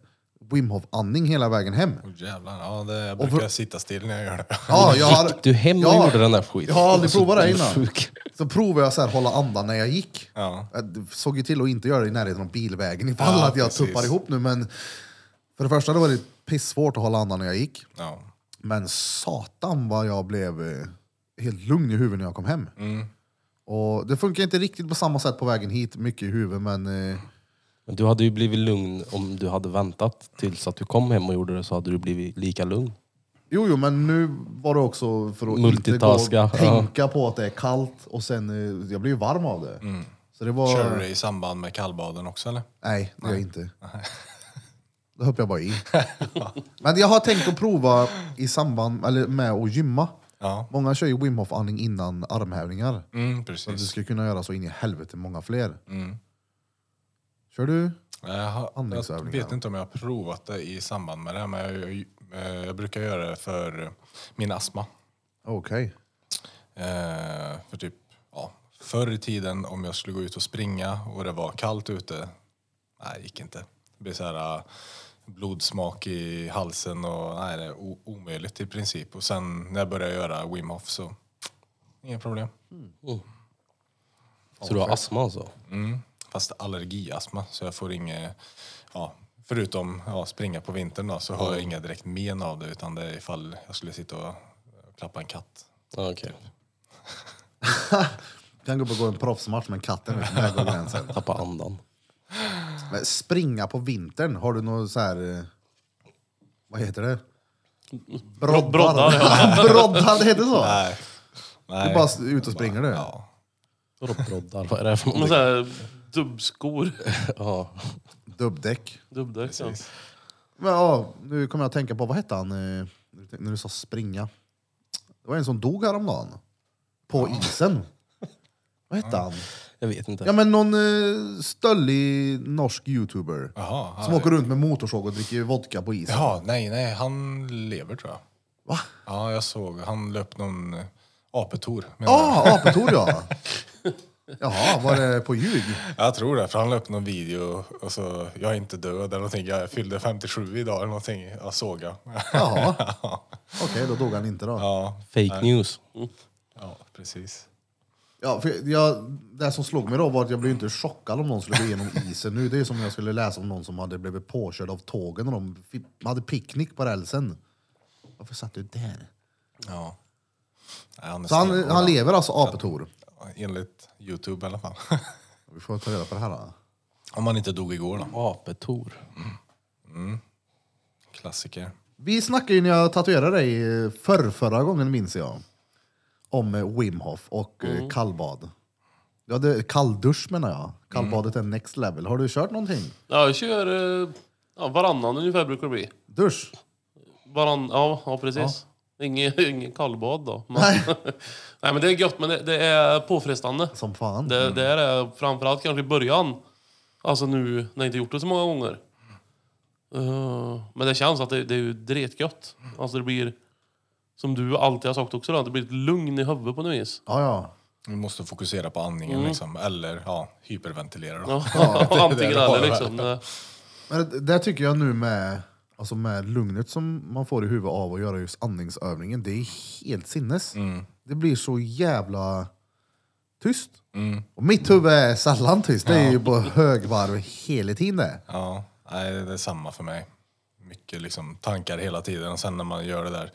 Wim Hof andning hela vägen hem. Åh, jävlar, ja, det, jag brukar sitta still när jag gör det. *laughs* Ja, jag har, Du hem och ja, gjorde den där skiten. Jag har aldrig provat det Du är innan. sjuk. Så provade jag så här, hålla andan när jag gick. Ja. Jag såg ju till att inte göra det i närheten av bilvägen ifall Ja, att jag precis. tuppar ihop nu. Men för det första då var det pissvårt att hålla andan när jag gick. Ja. Men satan vad jag blev eh, helt lugn i huvudet när jag kom hem. Och Det funkar inte riktigt på samma sätt på vägen hit, mycket i huvudet. Men eh, Men du hade ju blivit lugn om du hade väntat tills att du kom hem och gjorde det så hade du blivit lika lugn. jo, jo, men nu var det också för att inte gå och Multitaska, ja. tänka på att det är kallt. Och sen, eh, jag blev ju varm av det. Så det var... Kör du det i samband med kallbaden också eller? Nej, det gör jag inte. Då hoppar jag bara i. Men jag har tänkt att prova i samband eller med att gymma. Ja. Många kör ju Wim Hof andning innan armhävningar. Mm, Så att du precis. ska kunna göra så in i helvete många fler. Mm. Kör du? Jag, har, jag Andningsövningar. vet inte om jag har provat det i samband med det, men jag, eh, jag, jag brukar göra det för min astma. Okej. Eh, för typ, ja, förr i tiden om jag skulle gå ut och springa och det var kallt ute, nej det gick inte. Det blev så här eh, blodsmak i halsen och nej det är o- omöjligt i princip. Och sen när jag började göra Wim Hof så, inga problem. Så du har astma alltså? Mm. Fast allergiastma så jag får inget, ja, förutom ja, springa på vintern då, så har jag inga direkt men av det utan det är ifall jag skulle sitta och klappa en katt. Okej. Kan gå på gå en proffsmatch med katten. liksom, vet du, när jag går gränsen. Tappa andan. Men springa på vintern, har du någon så här... eh, Vad heter det? Broddar. broddar, *laughs* Broddar, det heter så? Nej. Nej. Du bara s- ut och springer du? Ja. Roddar, vad är det här för Men någonting? så här, dubbskor. Ja. Dubbdäck. Dubbdäck. Ja. Precis. Men, ja, nu kommer jag att tänka på, vad hette han eh, när du sa springa? Det var en som dog häromdagen. På isen. Vad hette han? Jag vet Ja inte. men någon eh, stöllig norsk youtuber. Jaha, Som ja. åker runt med motorsåg och dricker vodka på isen. Jaha, nej, nej, han lever tror jag. Va? Ja, jag såg. Han löp någon eh, apetor. menar jag. Ah, apetor ja! Jaha, var det på ljug? Jag tror det, för han löp någon video och så, jag är inte död eller någonting. Jag fyllde 57 idag eller någonting. Jag såg jag. *laughs* Jaha. Okej, då dog han inte då. Ja, Fake news. ja precis. Ja, för jag, det som slog mig då var att jag blev inte chockad om någon skulle gå igenom isen nu. Det är som om jag skulle läsa om någon som hade blivit påkörd av tågen och de fi- hade picknick på rälsen. Varför satt du där? Ja. Nej, han är Så han, stenhård, han lever alltså, Apetor? Enligt Youtube i alla fall. *laughs* Vi får ta reda på det här då. Om han inte dog igår då. Apetor. Klassiker. Vi snackade ju när jag tatuerade dig eh, förr, förra gången minns jag. Om eh, Wim Hof och mm. kallbad. Du hade kalldusch menar jag. Kallbadet är next level. Har du kört någonting? Ja, jag kör eh, ja, varannan ungefär brukar det bli. Dusch? Varann, ja, ja, precis. Ingen, *laughs* ingen kallbad då. Men, nej. *laughs* men det är gött, men det, det är påfrestande. Som fan. Det, Mm. det är det, framförallt kanske i början. Alltså nu när jag inte gjort det så många gånger. Eh, men det känns att det, det är ju dretgött. Mm. Alltså det blir, som du alltid har sagt också, då, att det blir ett lugn i huvudet på något vis. Ja, ja. Vi måste fokusera på andningen liksom. Eller ja, hyperventilera då. *laughs* Ja, det antingen har eller det liksom. Det, Men det, det tycker jag nu med, alltså med lugnet som man får i huvudet av att göra just andningsövningen, det är helt sinnes. Det blir så jävla tyst. Och mitt huvud är sällan tyst, det är ju på högvarv hela tiden det. Ja, nej, det är samma för mig. Mycket liksom tankar hela tiden och sen när man gör det där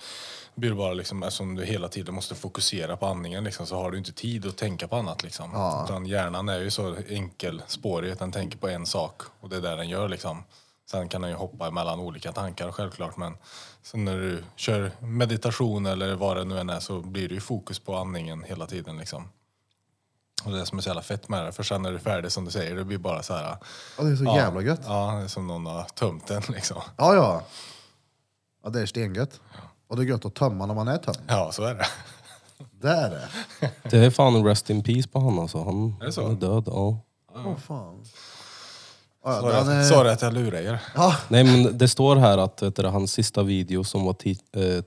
blir det bara liksom, eftersom du hela tiden måste fokusera på andningen liksom, så har du inte tid att tänka på annat liksom. Utan hjärnan är ju så enkelspårig att den tänker på en sak och det är det den gör liksom. Sen kan den ju hoppa mellan olika tankar självklart men sen när du kör meditation eller vad det nu än är så blir det ju fokus på andningen hela tiden liksom. Och det är det som är så jävla fett med det för sen när du är färdig som du säger det blir bara så här Ja, det är så jävla gött. Ja, det är som någon har tömt den liksom. Ja, ja. Ja, det är stengött. Och det är gött att tömma när man är tömd. Ja, så är det. Det är det. Det är fan rest in peace på han alltså. Han Är det så? han är död. Ja. Åh fan. Ja, Sorry, den är- att, sorry att jag lurar er. Ja, Nej men det står här att vet du, hans sista video som var tit- eh,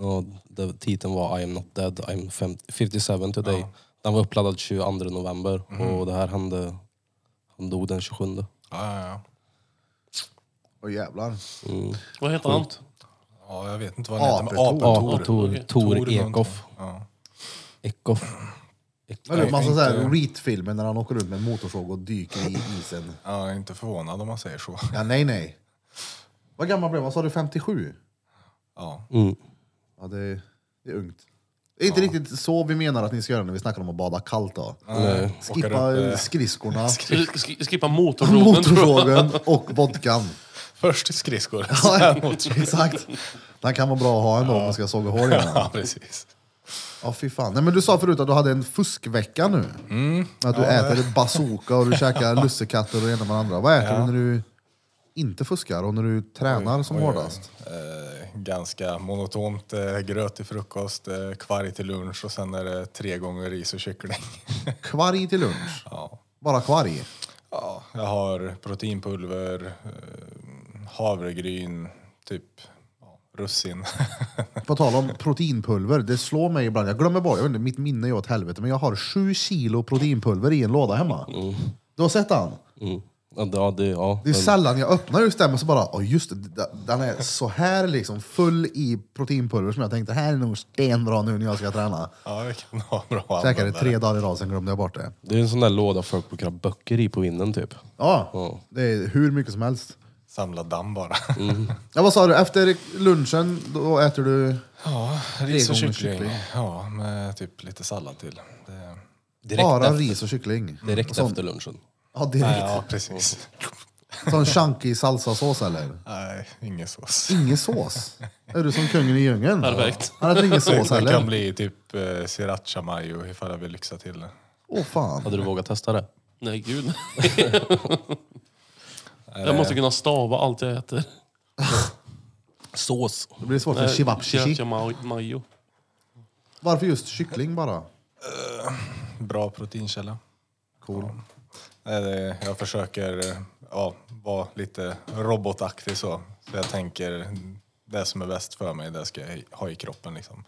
ja, där titeln var I am not dead, I am fem- 57 today. Den var uppladdad 22 november och det här hände, han dog den 27. Ja, ja, ja. Åh jävlar. Vad heter han? ja, jag vet inte vad han heter, men Apetor. Apetor. Ja, Tor, Tor någonting. Ekoff. Ja. Ekoff. Men det är en massa inte- såhär Reet-filmer när han åker runt med en motorsåg och dyker i isen. Ja, jag är inte förvånad om man säger så. Ja, nej, nej. Vad gammal blev han? Sa du 57? Ja. Mm. Ja, det är, det är ungt. Det är inte riktigt så vi menar att ni ska göra när vi snackar om att bada kallt då. Nej. Skippa Åker upp, eh, *laughs* skridskorna, Sk- sk- Skippa motorroven tror jag. *laughs* motorsågen och vodkan. Först skridskor, *laughs* Ja, sen mot exakt. Den kan vara bra att ha ändå om man ska såga hår innan. *laughs* Ja, precis. Ja, fy fan. Nej, men du sa förut att du hade en fuskvecka nu. Mm. Att du äter bazooka och du *laughs* käkar lussekatter och det ena med det andra. Vad äter du när du inte fuskar och när du tränar som Oj, oj, oj. hårdast? Eh, ganska monotont. Eh, gröt till frukost, eh, kvarg till lunch och sen är det tre gånger ris och kyckling. *laughs* Kvarg till lunch. ja. Bara kvarg. ja, jag har proteinpulver, eh, havregryn, typ ja, russin. *laughs* På tal om proteinpulver, det slår mig ibland. Jag glömmer bort, jag vet inte, mitt minne är åt helvete, men jag har sju kilo proteinpulver i en låda hemma. Mm. Du har sett den? Mm. Ja, det, ja, det, ja. Det är sällan jag öppnar just den och så bara, åh just det, d- den är så här liksom full i proteinpulver som jag tänkte, här är nog stenbra nu när jag ska träna. ja, det kan vara bra. Käkade användare. tre dagar i rad, sen glömde jag bort det. det är en sån där låda folk brukar ha böcker i på vinden typ. Ja, det är hur mycket som helst. Samla damm bara. Ja, vad sa du? Efter lunchen, då äter du... *laughs* Ja, ris och gånger kyckling. kyckling. Ja, med typ lite sallad till. Det... Direkt, bara efter, ris och kyckling? direkt sån, efter lunchen. Ja, direkt. Ja, precis. Sån chunky salsasås eller? Nej, ingen sås. Ingen sås? Är du som kungen i djungeln? Perfekt. Han äter *laughs* ingen sås Det kan heller? bli typ eh, sriracha mayo ifall jag vill lyxa till det. Åh fan. Hade du vågat testa det? *laughs* Nej, gud. jag måste kunna stava allt jag äter. Sås. Det blir svårt för Sriracha shivapchichi. ma- mayo. Varför just kyckling bara? Bra proteinkälla. Cool. Nej, det- Jag försöker eh, ja, vara lite robotaktig så. så. Jag tänker det som är bäst för mig, det ska jag ha i kroppen. Liksom.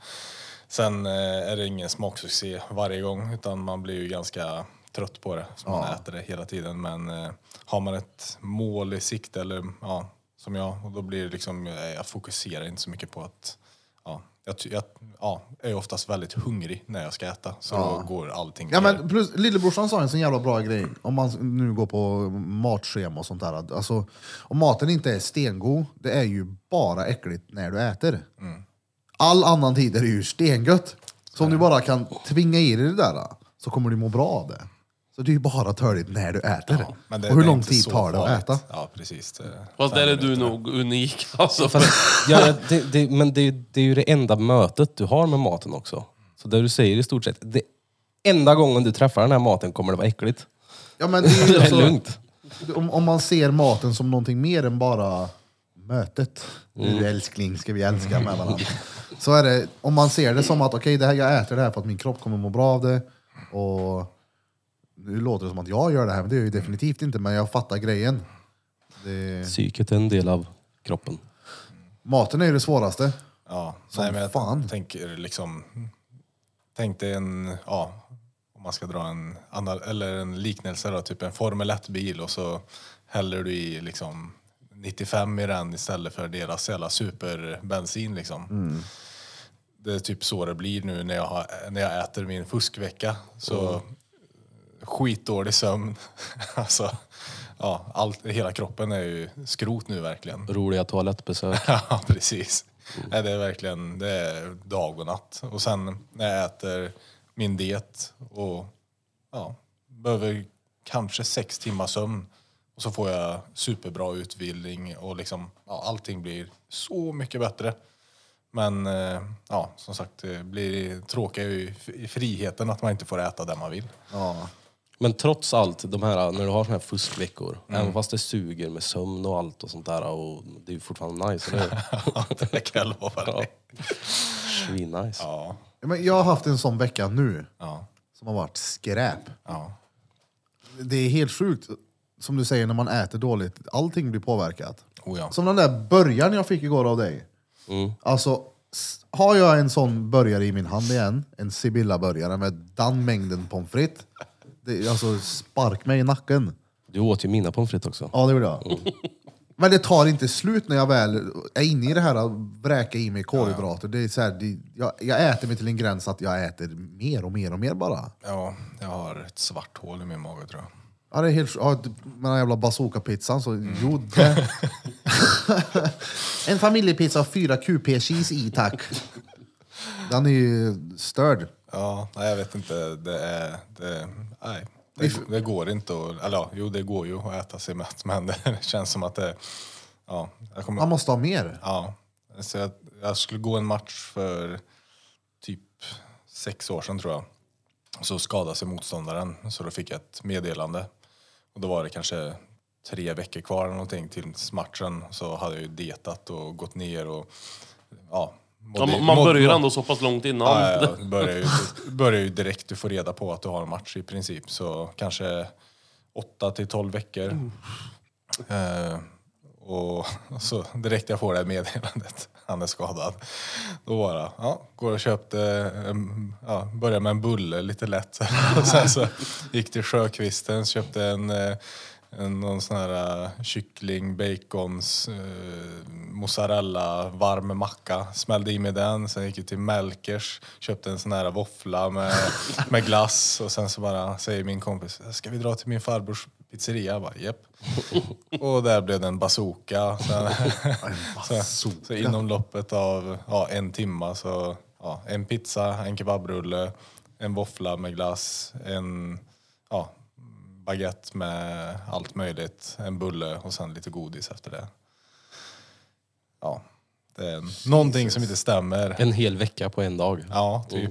Sen eh, är det ingen smaksuccé varje gång utan man blir ju ganska trött på det. Så man äter det hela tiden. Men eh, har man ett mål i sikte, eller, ja, som jag, och då blir det liksom, eh, jag fokuserar inte så mycket på att ja, jag, ty- jag ja, är ju oftast väldigt hungrig när jag ska äta, så då går allting Ja, ner. men plus, lillebrorsan sa en sån jävla bra grej, om man nu går på matschema och sånt där. att- Alltså, om maten inte är stengod, det är ju bara äckligt när du äter. Mm. All annan tid är det ju stengött. Så om du bara kan tvinga i dig det där, så kommer du må bra av det. Så det är ju bara törligt när du äter. Men det- och hur det är lång inte tid så tar det att farligt. äta? Ja, precis. Det- Fast där är du minuter. nog unik. Alltså, för Fast, ja, det, det, men det, det är ju det enda mötet du har med maten också. Så det du säger i stort sett, det enda gången du träffar den här maten kommer det vara äckligt. Ja, men *laughs* det är ju Det är alltså- lugnt. Om, om man ser maten som någonting mer än bara mötet. Nu älskling ska vi älska med varandra. Så är det, om man ser det som att okej, det här jag äter det här för att min kropp kommer må bra av det. Och nu låter det som att jag gör det här, men det gör jag ju definitivt inte. Men jag fattar grejen. Det, Psyket är en del av kroppen. maten är ju det svåraste. Ja, Som nej, men jag fan. tänker liksom... Tänk dig en, ja, om man ska dra en, anal- eller en liknelse då, typ en Formel 1-bil och så häller du i liksom 95 i den istället för deras jävla superbensin liksom. Mm. Det är typ så det blir nu när jag, har, när jag äter min fuskvecka. Så Mm. skitdålig sömn. *laughs* alltså, ja, allt, hela kroppen är ju skrot nu verkligen. Roliga toalettbesök. *laughs* Ja, precis. Nej, det är verkligen det är dag och natt. Och sen när jag äter min diet och ja, behöver kanske sex timmar sömn och så får jag superbra utbildning och liksom, ja, allting blir så mycket bättre. Men eh, ja, som sagt, det blir tråkiga i i friheten att man inte får äta det man vill. *laughs* Ja. Men trots allt, de här, när du har såna här fuskveckor, Mm. även fast det suger med sömn och allt och sånt där, och det är ju fortfarande nice, eller *laughs* hur? det kan jag lova dig. Svin-nice. Ja. Ja, Men jag har haft en sån vecka nu Ja. som har varit skräp. Ja. Det är helt sjukt, som du säger, när man äter dåligt. Allting blir påverkat. Oh, ja. Som den där början jag fick igår av dig. Alltså, s- har jag en sån burgare i min hand igen, en Sibylla-burgare med den mängden pommes frites. Det, alltså, spark mig i nacken. Du åt ju mina pommes frites också. Ja, det gjorde jag. Men det tar inte slut när jag väl är inne i det här att vräka i mig kolhydrater. Det är så här, det, jag, jag äter mig till en gräns att jag äter mer och mer och mer bara. ja, jag har ett svart hål i min mage tror jag. Ja, det är helt, ja, d- med den jävla bazooka-pizzan så jo, det. En familjepizza och fyra QP-cheese i tack. Den är ju störd. Ja, nej, jag vet inte. Det är... Det, nej. Det, det går inte att... Eller ja, jo, det går ju att äta sig mätt, *laughs* men det känns som att det... Ja, jag kommer... Man måste ha mer. Ja. Så jag, jag skulle gå en match för typ sex år sedan tror jag. Och så skadade sig motståndaren så då fick jag ett meddelande. Och då var det kanske tre veckor kvar eller någonting tills matchen. Så hade jag ju dietat och gått ner och ja. Ja, mådde- man, man mådde- börjar ju ändå så pass långt innan. Ja, ja, ja. Du börjar ju, du börjar ju direkt du får reda på att du har en match i princip. Så kanske 8 till 12 veckor. Eh, och, *laughs* och så direkt jag får det här meddelandet, *laughs* han är skadad. Då bara, ja, går och köpte, en- ja, började med en bulle lite lätt. *laughs* Och sen så gick till Sjökvisten, köpte en, eh, en någon sån här eh, kyckling, bacons, eh, mozzarella, varm macka. Smällde i mig den, sen gick jag till Melkers, köpte en sån här våffla med, med glass. Och sen så bara säger min kompis, ska vi dra till min farbrors pizzeria? Jag bara, Japp. Och där blev det en bazooka. Sen, *laughs* så, så inom loppet av ja, en timma så ja, en pizza, en kebabrulle, en våffla med glass, en ja, baguette med allt möjligt, en bulle och sen lite godis efter det. Ja, det är någonting som inte stämmer. En hel vecka på en dag. Ja, typ.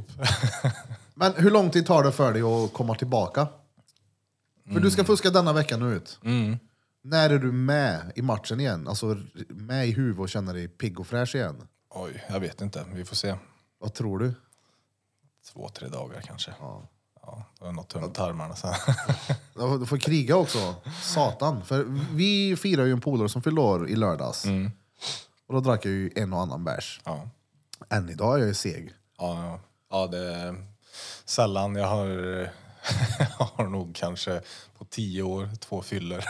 Men hur lång tid tar det för dig att komma tillbaka? För du ska fuska denna veckan ut. När är du med i matchen igen? Alltså r- med i huvudet och känner dig pigg och fräsch igen? Oj, jag vet inte. Vi får se. Vad tror du? Två, tre dagar kanske. Ja. Ja, då har jag nog tömt tarmarna sen. Ja, Du får kriga också. Satan. För vi firar ju en polare som fyllde år i lördags. Mm. Och då drack jag ju en och annan bärs. *laughs* Ja. Än idag är jag ju seg. Ja, ja. ja det är sällan. Jag har, *laughs* jag har nog kanske på tio år två fyller.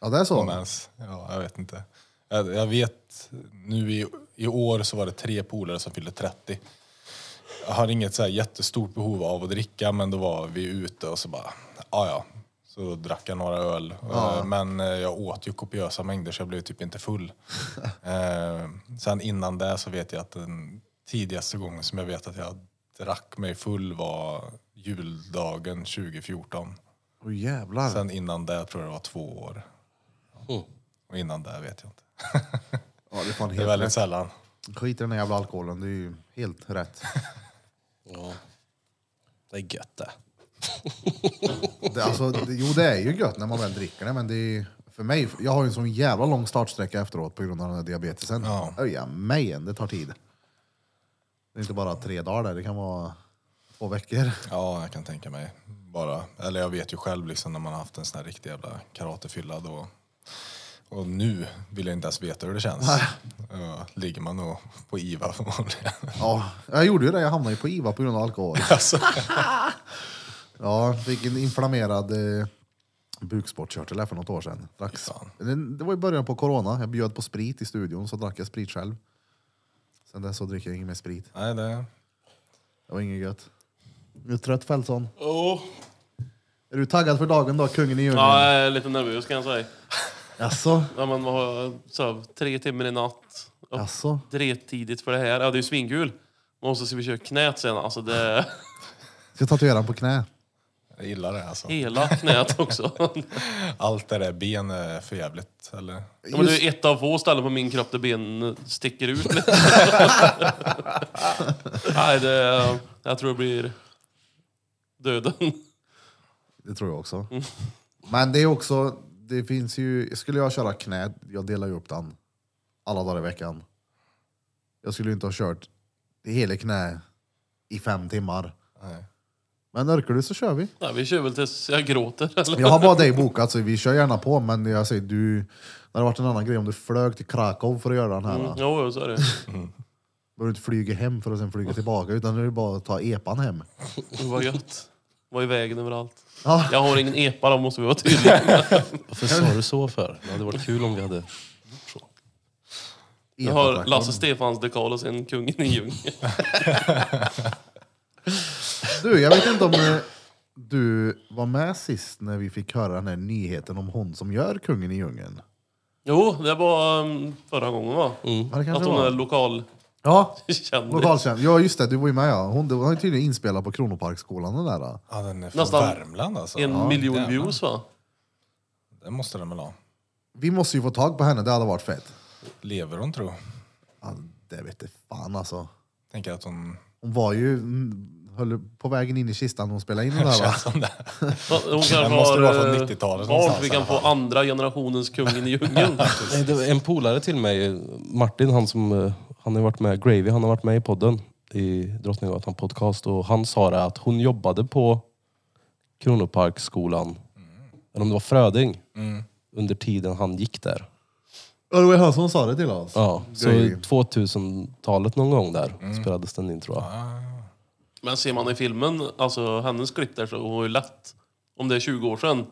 Ja, det är så. om ens. Ja, jag vet inte. Jag, jag vet, nu i, i år så var det tre polare som fyllde 30. Jag har inget så här jättestort behov av att dricka, men då var vi ute och så bara, ja ja. Så då drack jag några öl. Eh, Men eh, jag åt ju kopiösa mängder så jag blev typ inte full. eh, sen innan det så vet jag att den tidigaste gången som jag vet att jag drack mig full var juldagen 2014. Åh jävlar. Sen innan det tror jag det var två år. Mm. Och innan det vet jag inte. ja, det är fan Det är helt väldigt rätt. sällan. Skit i den här jävla alkoholen, det är ju helt rätt. Ja. Det är gött det. Det, alltså, det, jo, det är ju gött när man väl dricker det, men det är, för mig, jag har ju en sån jävla lång startsträcka efteråt på grund av den här diabetesen. Ja. Öja mig, det tar tid. Det är inte bara tre dagar där, det kan vara två veckor. Ja, jag kan tänka mig. Bara, eller jag vet ju själv liksom när man har haft en sån här riktig jävla karatefylla då. Och nu vill jag inte ens veta hur det känns. Ja, ligger man nog på IVA *laughs* förmodligen. Ja, jag gjorde ju det, jag hamnade ju på IVA på grund av *laughs* alkohol. Alltså. *laughs* Ja, fick en inflammerad eh, bukspottkörtel här för något år sedan. Drack, fan. det, det var i början på corona, jag bjöd på sprit i studion, så drack jag sprit själv. Sen dess så dricker jag ingen mer sprit. Nej, det... Det var inget gött. Är du trött Fältson? Åh. Är du taggad för dagen då, kungen i djungeln? Oh. Ja, jag är lite nervös kan jag säga. Jaså? Ja, men vad har jag? Sov tre timmar i natt. Upp Jaså? drettidigt för det här. Ja, det är ju svinkul. Men så ska vi köra knät sen. Alltså det Ska jag tatuera den på knä? Jag gillar det alltså. *laughs* hela knät också. Allt det där ben är för jävligt. Eller? Ja, men det är ett av få ställen på min kropp där benen *laughs* sticker ut lite. Nej, det, jag tror det blir döden. Det tror jag också. Mm. Men det är också, det finns ju, skulle jag köra knät, jag delar ju upp den alla dagar i veckan. Jag skulle ju inte ha kört det hela knä i fem timmar. Nej. Men orkar du så kör vi. Nej, vi kör väl tills jag gråter. Eller? Jag har bara dig bokat så vi kör gärna på men jag säger du, det hade varit en annan grej om du flög till Krakow för att göra den här. Mm, Då jo, jo, så är det. behöver du inte flyga hem för att sen flyga tillbaka utan nu är det bara att ta epan hem. Oh, vad gött. Var i vägen överallt. Ja. Jag har ingen epa, då måste vi vara tydliga. Varför sa du så för? Det hade varit kul om vi hade... Jag har Epatraktorn. Lasse Stefans dekal och sen kungen i djungeln. Du, jag vet inte om eh, du var med sist när vi fick höra den här nyheten om hon som gör Kungen i djungeln. *laughs* Jo, det var um, förra gången va? Ja, det Att kanske hon är var. lokal Ja, kändis. lokalkänd. Ja, just det. Du var ju med ja. Hon, hon har ju tydligen inspelat på Kronoparksskolan den där. då. Ja, den är från Nästan Värmland alltså. En ja, miljon jävlar. views va? Det måste den väl ha. Vi måste ju få tag på henne, det hade varit fett. Lever hon tro? Ja, det vet jag fan alltså. Tänker att hon Hon var ju mm, höll på vägen in i kistan när hon spelade in den där. Va? känns som det. Va, Hon kanske måste har vara från eh, 90-talet barn någonstans vi i kan alla få fall. andra generationens kungen i djungeln. Nej, det var en polare till mig, Martin, han som eh, han har varit med, Gravy, han har varit med i podden i Drottninggatan podcast och han sa det att hon jobbade på Kronoparksskolan, eller om det var Fröding, under tiden han gick där. *laughs* Ja, det var ju han som sa det till oss. Ja, så Gravy. 2000-talet någon gång där spelades den in tror jag. Men ser man i filmen, alltså hennes klipp där, så hon är ju lätt, om det är 20 år sedan,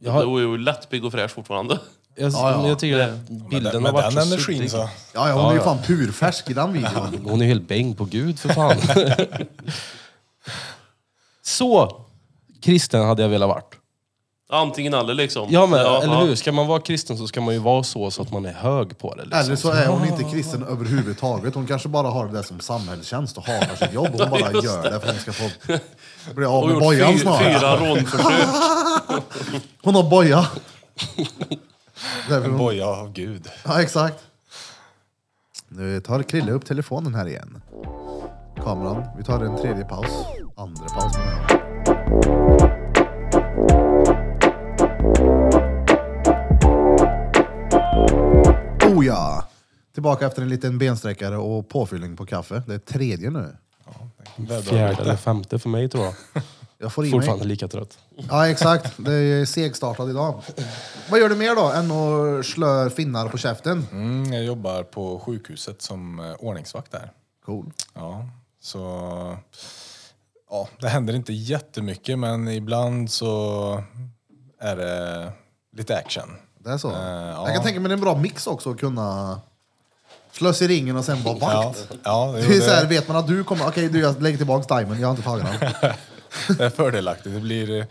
Jag, då är har, hon ju lätt pigg och fräsch fortfarande. *laughs* jag, Ja, ja. jag tycker att Med, den- bilden har med varit den så energin suddig. så. Ja, ja, hon är ju Ja, fan purfärsk i den videon. Hon är ju helt bäng på Gud för fan. så kristen hade jag velat varit. Antingen eller liksom. Ja men ja, eller ja. hur? Ska man vara kristen så ska man ju vara så, så att man är hög på det. Liksom. Eller så är hon inte kristen överhuvudtaget. Hon kanske bara har det där som samhällstjänst och hatar sitt jobb. Hon *laughs* bara gör det för att hon ska få bli av Och med gjort bojan fy, snarare. fyra rånförsök. Hon har *laughs* boja. Därför En hon... boja av gud. Ja, exakt. Nu tar Krille upp telefonen här igen. Kameran. Vi tar en tredje paus. Andra paus menar jag. Oh ja! Tillbaka efter en liten bensträckare och påfyllning på kaffe. Det är tredje nu. Fjärde eller femte för mig tror jag. Jag får i mig. Fortfarande lika trött. Ja, exakt. Det är segstartad idag. Vad gör du mer då än att slö finnar på käften? Mm, jag jobbar på sjukhuset som eh, ordningsvakt där. Cool. Ja, så... Ja, det händer inte jättemycket men ibland så är det lite action. Det är så? Eh, ja. Jag kan tänka mig det är en bra mix också att kunna slös i ringen och sen vara Ja, vakt. ja Det det, är så här, det, vet man att du kommer, okej du jag lägger tillbaks timern, jag har inte tagit den. det är fördelaktigt. Det blir eh,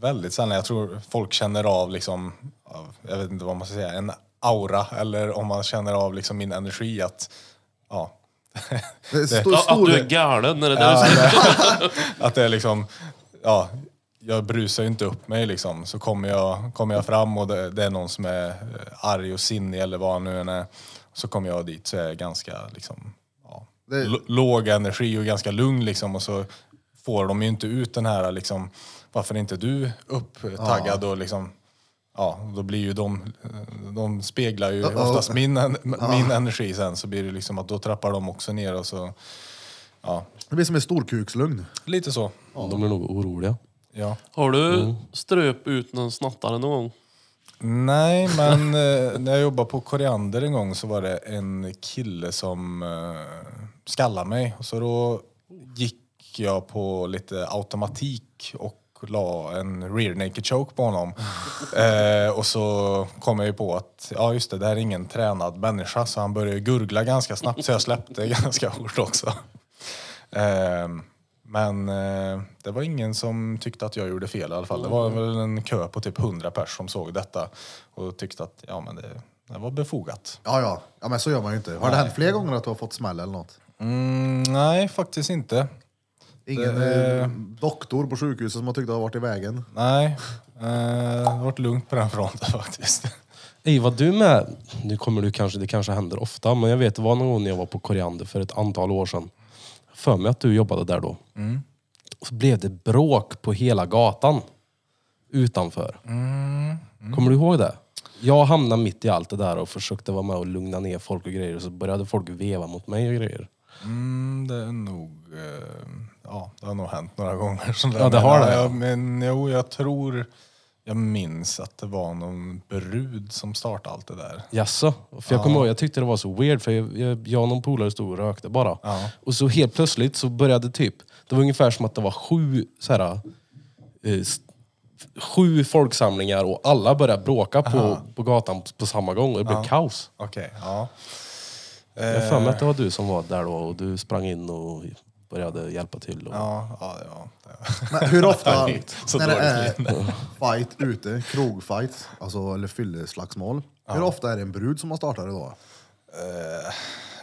väldigt sällan. Jag tror folk känner av liksom, av- jag vet inte vad man ska säga, en aura eller om man känner av liksom min energi att, ja, *laughs* Det är stor, Ja, Att stor, du är galen när det där är Att det är liksom, ja, jag brusar ju inte upp mig liksom. Så kommer jag, kommer jag fram och det, det är någon som är eh, arg och sinnig eller vad han nu än är. Så kommer jag dit så är jag ganska liksom, ja, Det- l- låg energi och ganska lugn liksom. Och så får de ju inte ut den här liksom, varför är inte du upptaggad och liksom Ja, och då blir ju de, de speglar ju Uh-oh. oftast min, *laughs* en- min energi sen så blir det liksom att då trappar de också ner och så, ja, det blir som en storkukslugn. lite så. De blir nog oroliga. Ja. Har du ströp ut någon snattare någon gång? Nej, men eh, när jag jobbade på Koriander en gång så var det en kille som eh, skallade mig. Så då gick jag på lite automatik och la en rear naked choke på honom. Eh, och så kom jag ju på att, ja just det, det här är ingen tränad människa så han började gurgla ganska snabbt så jag släppte *laughs* ganska hårt också. Eh, men eh, det var ingen som tyckte att jag gjorde fel i alla fall. Det Mm. var väl en kö på typ 100 pers som såg detta och tyckte att ja, men det, det var befogat. Ja, ja. Ja men så gör man ju inte. Har det hänt fler gånger att du har fått smäll eller något? Mm, nej, faktiskt inte. Ingen Det- eh, doktor på sjukhuset som har tyckt att det har varit i vägen? Nej, eh, det har varit lugnt på den fronten *laughs* faktiskt. Ey, var du med? Nu kommer du kanske, det kanske händer ofta, men jag vet Mm. det var någon gång när jag var på Koriander för ett antal år sedan. För mig att du jobbade där då. och så blev det bråk på hela gatan utanför. Mm. Kommer du ihåg det? Jag hamnade mitt i allt det där och försökte vara med och lugna ner folk och grejer. Och så började folk veva mot mig och grejer. Mm, det är nog... eh, Ja, det har nog hänt några gånger. Sånt där. Ja, det Men, har det. Jag, men jo, jag tror... Jag minns att det var någon brud som startade allt det där. Jaså? För jag kommer ihåg, jag tyckte det var så weird för jag, jag, jag och någon polare stod och rökte bara. Ja. Och så helt plötsligt så började typ, det var ungefär som att det var sju så här, eh, s- sju folksamlingar och alla började bråka på, på gatan på samma gång och det blev kaos. Okej, ja. Jag har för mig att det var du som var där då och du sprang in och började hjälpa till. Och, Ja, ja, ja. Men *laughs* hur ofta Så när det är dåligt fight ute, krogfight, alltså, eller fylleslagsmål, hur ofta är det en brud som har startat det då? Eh,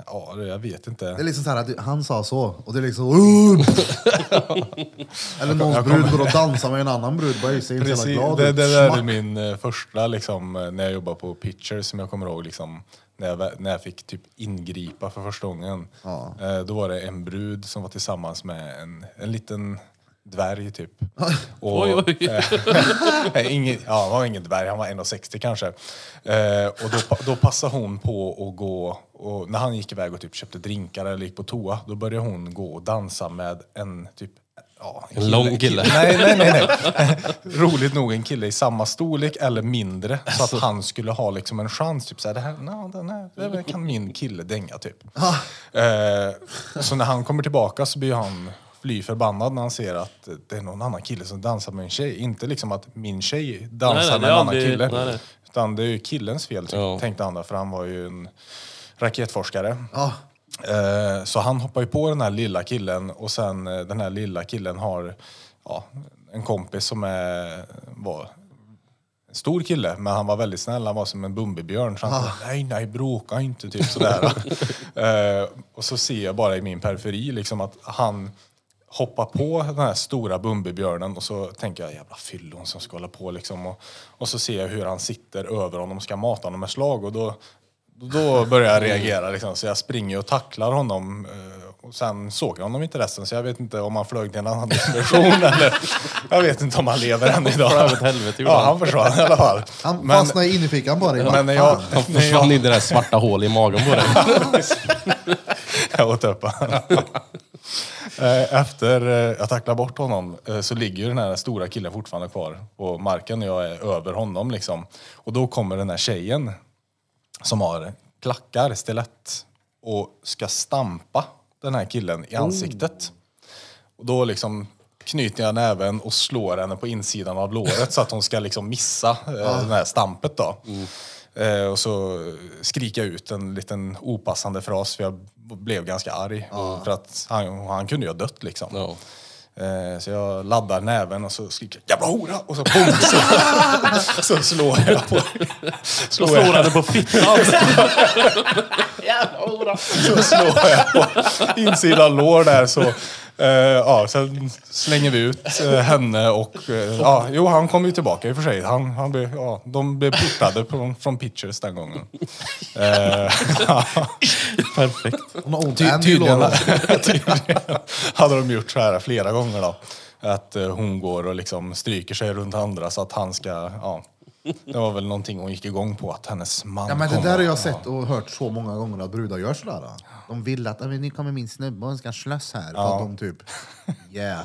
Ja, det- jag vet Det är inte. liksom så här att han sa så, och det är liksom... *laughs* "Åh!" eller någons brud går och dansar med en annan brud, bara ser inte så Precis, jävla glad det, det ut. där är Smack. min eh, första, liksom, eh, när jag jobbade på Pictures som jag kommer ihåg, liksom, när, jag, vä- när jag fick typ ingripa för första gången. Ja. Eh, Då var det en brud som var tillsammans med en, en liten dvärg *laughs* typ. Och, Oj, oj. *laughs* eh, ingen, ja, han var ingen dvärg, han var 1,60 kanske. Eh, och då, pa- då passade hon på att gå, och när han gick iväg och typ köpte drinkar eller gick på toa, då började hon gå och dansa med en typ Ja, en lång kille. Nej, nej, nej. nej. *laughs* Roligt nog en kille i samma storlek eller mindre. Så Alltså. att han skulle ha liksom en chans. Typ så här, det här, no, den här det här kan min kille dänga typ. Eh, så när han kommer tillbaka så blir han fly förbannad när han ser att det är någon annan kille som dansar med en tjej. Inte liksom att min tjej dansar Nej, nej, det med är en annan aldrig- kille. nej, nej. Utan det är ju killens fel, typ, Ja. tänkte han där, för han var ju en raketforskare. Ja, Eh, Så han hoppar ju på den här lilla killen och sen eh, den här lilla killen har ja, en kompis som är, var en stor kille men han var väldigt snäll, han var som en Bumbibjörn. Så han Ah. sa nej, nej, bråka inte, typ sådär. *laughs* eh, och så ser jag bara i min periferi liksom att han hoppar på den här stora Bumbibjörnen och så tänker jag jävla fyllon som ska hålla på liksom. Och, och så ser jag hur han sitter över honom och ska mata honom med slag och då då börjar jag reagera liksom, så jag springer och tacklar honom. eh, Och sen såg jag honom inte resten så jag vet inte om han flög till en annan dimension *laughs* eller jag vet inte om han lever än idag. flög åt helvete, gjorde ja, han. han försvann i alla fall. *laughs* han fastnade i innerfickan bara. men när jag, *laughs* Han när försvann jag, in i det där svarta hålet i magen på dig. *laughs* jag åt upp *laughs* honom. Eh, Efter eh, jag tacklar bort honom eh, så ligger ju den här stora killen fortfarande kvar på marken och jag är över honom liksom. Och då kommer den här tjejen som har klackar, stilett och ska stampa den här killen i ansiktet. Och då liksom knyter jag näven och slår henne på insidan av låret så att hon ska liksom missa eh, det här stampet då. Eh, och så skriker jag ut en liten opassande fras för jag blev ganska arg. För att han, han kunde ju ha dött liksom. Ja. Eh, Så jag laddar näven och så skriker jag “jävla hora” och så boom! Så, så slår jag på... Då Slår slår jag, han på *laughs* fittan. så *laughs* slår jag på insidan lår där så... eh, ja, sen slänger vi ut eh, henne och... eh, ja, jo, han kom ju tillbaka i och för sig. Han, han blev, ja, de blev portade från, från Pitchers den gången. Eh, *laughs* Perfekt. Hon har ont i Ty en i tydligen, lådan. *laughs* tydligen hade de gjort så här flera gånger då. Att eh, hon går och liksom stryker sig runt andra så att han ska, ja. Det var väl någonting hon gick igång på, att hennes man Ja, men det kommer. där har jag sett och hört så många gånger att brudar gör sådär. De vill att "Ja, men nu kommer min snubbe och han ska slåss här. För att de typ, yeah.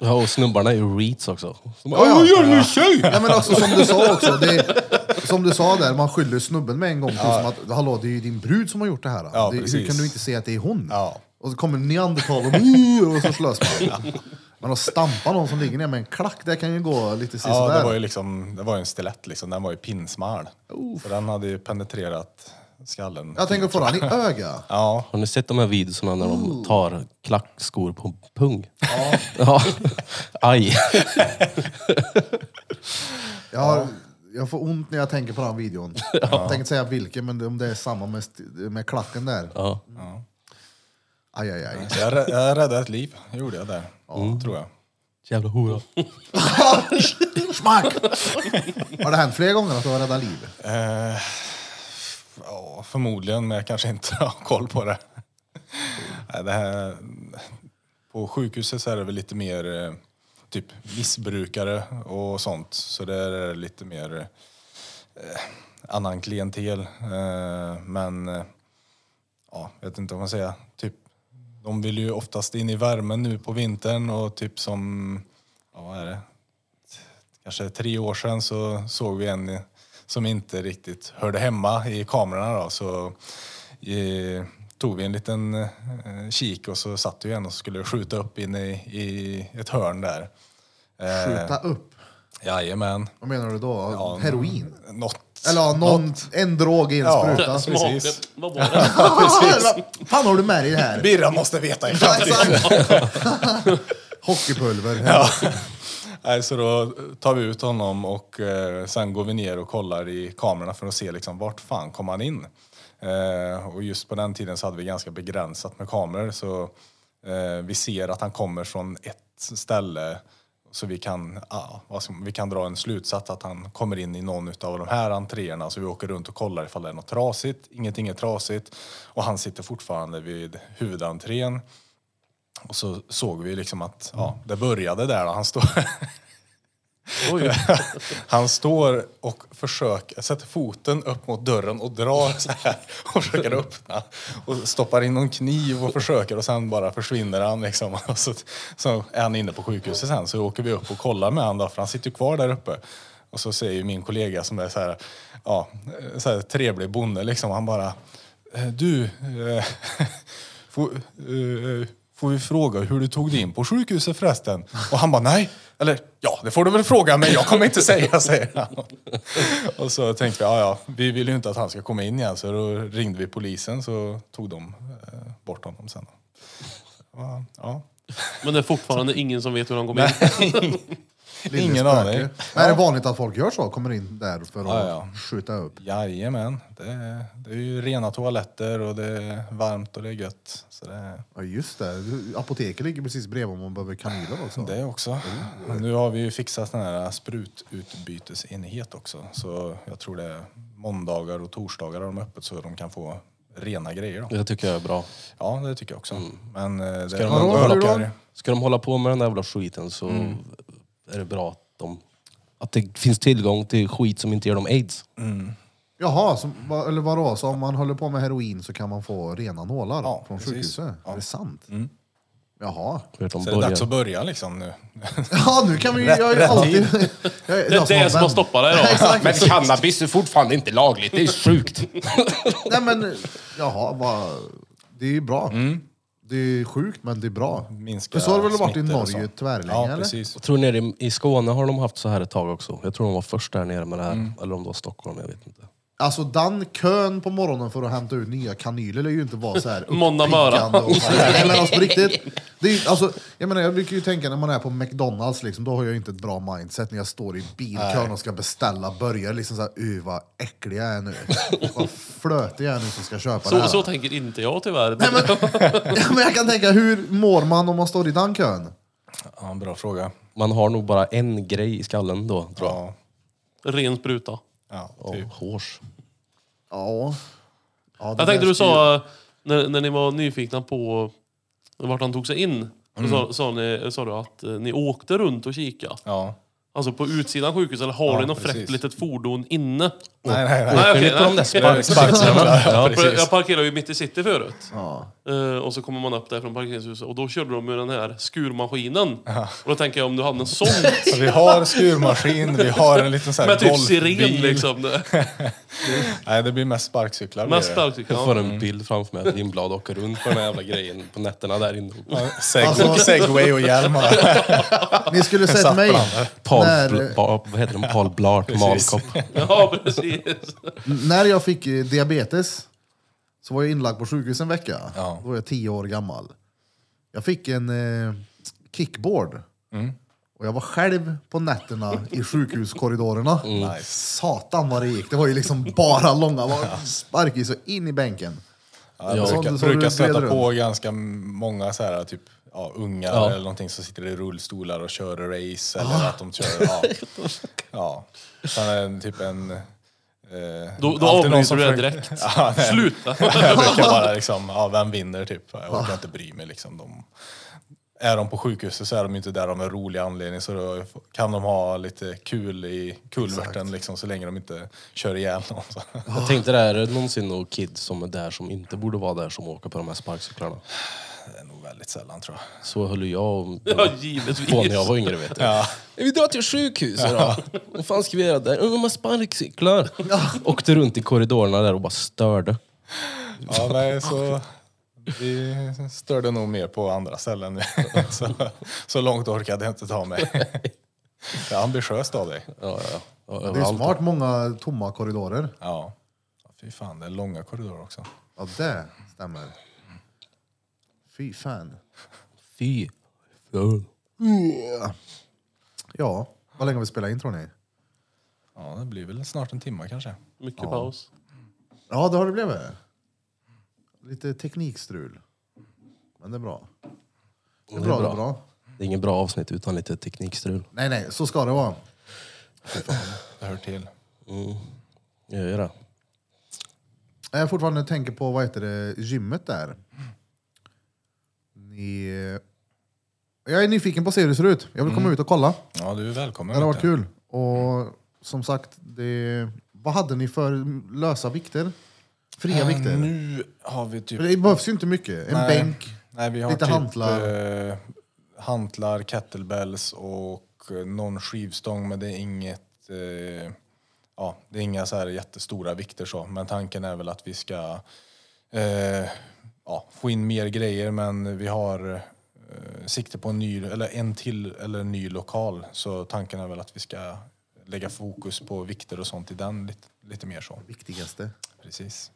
Ja, och snubbarna är ju reeds också. De bara, Ja, ja. "Åh, gör nu tjej! Ja, men också, som du sa också, det, som du sa där, man skyller snubben med en gång. Ja. Som att, Hallå, det är ju din brud som har gjort det här. Ja, det, hur precis. kan du inte se att det är hon? Ja. Och så kommer neandertal och, "Buh!" och så slåss man. Men att stampa någon som ligger ner med en klack, det kan ju gå lite Ja, det var sisådär. ju liksom, det var ju en stilett liksom, den var ju pinsmal. Så den hade ju penetrerat skallen. Jag tänker få den i öga. Ja, Har ni sett de här videorna när de tar klackskor på pung? Ja. *laughs* ja. Aj. Jag, har, jag får ont när jag tänker på den videon. Jag tänkte säga vilken, men om det är samma med, st- med klacken där. Ja. Aj, *laughs* aj, aj. så jag, rä- jag räddade ett liv, gjorde jag där. Mm. Tror jag. Jävla hora. Smack! Har det hänt fler gånger att du har räddat liv? Eh, Ja, *laughs* förmodligen, men jag kanske inte har koll på det. Nej, det här, På sjukhuset så är det väl lite mer eh, typ missbrukare och sånt. Så där är det lite mer eh, annan klientel. Eh, men eh, ja, jag vet inte vad man säger. Typ, de vill ju oftast in i värmen nu på vintern och typ som, ja vad är det? Kanske tre år sedan så såg vi en som inte riktigt hörde hemma i kamerorna då. Så eh, tog vi en liten eh, kik och så satt ju en och skulle skjuta upp in i, i ett hörn där. Eh, Skjuta upp? Jajamän. Vad menar du då? Ja, Heroin? Något. Eller ja, någon, en drog i en Ja. spruta? *laughs* precis. Smaken, vad var det? *laughs* Fan har du med dig *laughs* det här? Birra måste veta i Ja, framtiden. exakt. *laughs* Hockeypulver. Nej, så då tar vi ut honom och eh, sen går vi ner och kollar i kamerorna för att se liksom, vart fan kom han in. Eh, och just på den tiden så hade vi ganska begränsat med kameror så eh, vi ser att han kommer från ett ställe så vi kan, ja, vad ska, vi kan dra en slutsats att han kommer in i någon av de här entréerna så vi åker runt och kollar ifall det är något trasigt. Ingenting är trasigt och han sitter fortfarande vid huvudentrén. Och så såg vi liksom att ja, det började där. Då. Han, står, *laughs* Oj. han står och försöker, sätter foten upp mot dörren och drar så här och försöker öppna. Och stoppar in någon kniv och försöker och sen bara försvinner han. Liksom. Och så, så är han inne på sjukhuset sen så åker vi upp och kollar med honom då, för han sitter ju kvar där uppe. Och så säger ju min kollega som är så här, ja, så här trevlig bonde liksom, han bara "Eh, Du, eh, *laughs* får, eh, får vi fråga hur du tog dig in på sjukhuset förresten? Och han bara nej. Eller ja, det får du väl fråga men jag kommer inte säga, *laughs* säger han. Och så tänkte vi, ja ja, vi vill ju inte att han ska komma in igen så då ringde vi polisen så tog de eh, bort honom sen. Ja, Ja, Men det är fortfarande ingen som vet hur han kom in. Lille Ingen spöke. aning. Men Är det vanligt att folk gör så? Kommer in där för att Ja, ja. skjuta upp? jajamän. Det, det är ju rena toaletter och det är varmt och det är gött. Så det, Ja just det, apoteket ligger precis bredvid om man behöver kanyler också. Det också. Mm. Men nu har vi ju fixat den här sprututbytesenhet också. Så jag tror det är måndagar och torsdagar de är öppet så de kan få rena grejer. Då. Det tycker jag är bra. Ja, det tycker jag också. Men eh, det Mm. de är ha många roller då? burkar. Ska de hålla på med den där jävla skiten så är det bra att de... Att det finns tillgång till skit som inte ger dem aids. Jaha, så, va- eller vadå? Så om man håller på med heroin så kan man få rena nålar Ja, från precis. Ja. sjukhuset? Mm. Är det sant? Jaha. *laughs* För att de Så det är dags att börjar. börja liksom nu. Ja, nu kan vi jag är rätt alltid... tid. *laughs* jag är- Det jag är det som har vänt. stoppat *laughs* dig då. *laughs* Exakt. Men cannabis är fortfarande inte lagligt, det är sjukt. Nej men, jaha, vad... Det är ju bra. Det är sjukt, men det är bra. Mm. Minska För så har det väl varit i smittor och Norge så. tvärlänge, Ja, eller? precis. Jag tror nere i, i Skåne har de haft så här ett tag också. Jag tror de var först där nere med det här. Eller om det var Stockholm, jag vet inte. Alltså den kön på morgonen för att hämta ut nya kanyler är ju inte vara så här *laughs* Måndag morgon. uppiggande och så här. Nej, men alltså på *laughs* riktigt. Det är, ju- alltså, jag, menar, jag brukar ju tänka när man är på McDonalds, liksom, då har jag ju inte ett bra mindset när jag står i bilkön och ska beställa burgare. Liksom så här, uh vad äcklig jag är nu. vad flötig jag är nu som ska köpa det Så, här. så tänker inte jag tyvärr. Nej, men, *laughs* ja, men jag kan tänka, hur mår man om man står i den kön? Ja, bra fråga. Man har nog bara en grej i skallen då, tror jag. Ja, *laughs* Ren spruta. ja, Ja, typ. hårs. Ja. ja det Jag tänkte där du styr- sa eh, när, när ni var nyfikna på vart han tog sig in. Då Mm. sa, sa, ni, sa du att eh, ni åkte runt och kika. ja. Alltså på utsidan av sjukhuset, eller har Ja, ni något precis. fräckt litet fordon inne? Nej, nej, nej. Nej, Åker ni okej, på de där nej. Det är Sparkcyklar. Ja, För precis. Jag parkerade ju mitt i city förut. Ja. Eh, och så kommer man upp där från parkeringshuset och då körde de med den här skurmaskinen. Och då tänker jag om du hade en sån. *laughs* Så vi har skurmaskin, vi har en liten sån här med typ golfbil. siren liksom. Nej, det blir mest sparkcyklar. blir Med det. sparkcyklar. Jag får en bild framför mig att Lindblad åker runt på den här jävla grejen på nätterna där inne. Seg- Alltså- Segway och hjälm. har *laughs* jag. Ni skulle sett satt mig. på Paul, När, Bla- vad heter de? Paul Blart Malkopp. Ja, precis. *laughs* När jag fick eh, diabetes så var jag inlagd på sjukhus en vecka. Ja. Då var jag tio år gammal. Jag fick en eh, kickboard. Mm. Och jag var själv på nätterna i *laughs* sjukhuskorridorerna. Mm. Satan vad det gick. Det var ju liksom bara långa var- sparkar så in i bänken. Ja, Ja. jag Så- brukar, så brukar du stöta breder på ganska många så här, typ, ja, ungar Ja. eller någonting som sitter i rullstolar och kör race eller att de kör... *laughs* Ja. ja. Sen är det typ en... Eh, Då, alltid då någon avbryter som du det försöker- direkt. *laughs* Ja, nej. *laughs* Sluta! *laughs* Ah. Jag brukar bara liksom, ja, vem vinner typ? Jag orkar inte bry mig liksom. De är de på sjukhuset så är de ju inte där av en rolig anledning. Så då kan de ha lite kul i kulverten liksom, så länge de inte kör ihjäl någon. Så. Jag tänkte det, här, är det någonsin någon kid som är där som inte borde vara där som åker på de här sparkcyklarna? Det är nog väldigt sällan tror jag. Så höll ju jag och Ja, givetvis. på när jag var yngre vet du. Ja. Vi drar till sjukhuset då. Vad fan ska vi göra där? "Ja, De har sparkcyklar. Åkte runt i korridorerna där och bara störde. Ja, nej, så vi störde nog mer på andra ställen. *laughs* Så, så långt orkade jag inte ta mig. Det är ambitiöst av dig. Ja, ja, ja. Det är Överallt. smart många tomma korridorer. Ja. Ja, Fy fan, det är långa korridorer också. Ja, det stämmer. Fy fan. Fy. Ja. Ja, vad länge har vi spelat in tror ni? Ja, det blir väl snart en timme kanske. Mycket paus. Ja, det har det blivit. Lite teknikstrul. Men det är bra. Det är bra, det är bra. Det är ingen bra avsnitt utan lite teknikstrul. Nej, nej, så ska det vara. Det hör till. Jag gör det. Jag fortfarande tänker på, vad heter det, gymmet där. Ni... Jag är nyfiken på att se hur det ser ut. Mm. Jag vill komma ut och kolla. Ja, du är välkommen. Det hade varit vet du. kul. Och som sagt, det... vad hade ni för lösa vikter? Fria vikter? Eh, Nu har vi typ... För det behövs ju inte mycket. En Nej. bänk. Nej, vi har Lite typ, hantlar. Eh, hantlar, kettlebells och eh, någon skivstång men det är inget... Eh, ja, det är inga så här jättestora vikter så. Men tanken är väl att vi ska eh, ja, få in mer grejer men vi har eh, sikte på en ny, eller en till, eller en ny lokal. Så tanken är väl att vi ska lägga fokus på vikter och sånt i den lite, lite mer så. Viktigaste. Precis.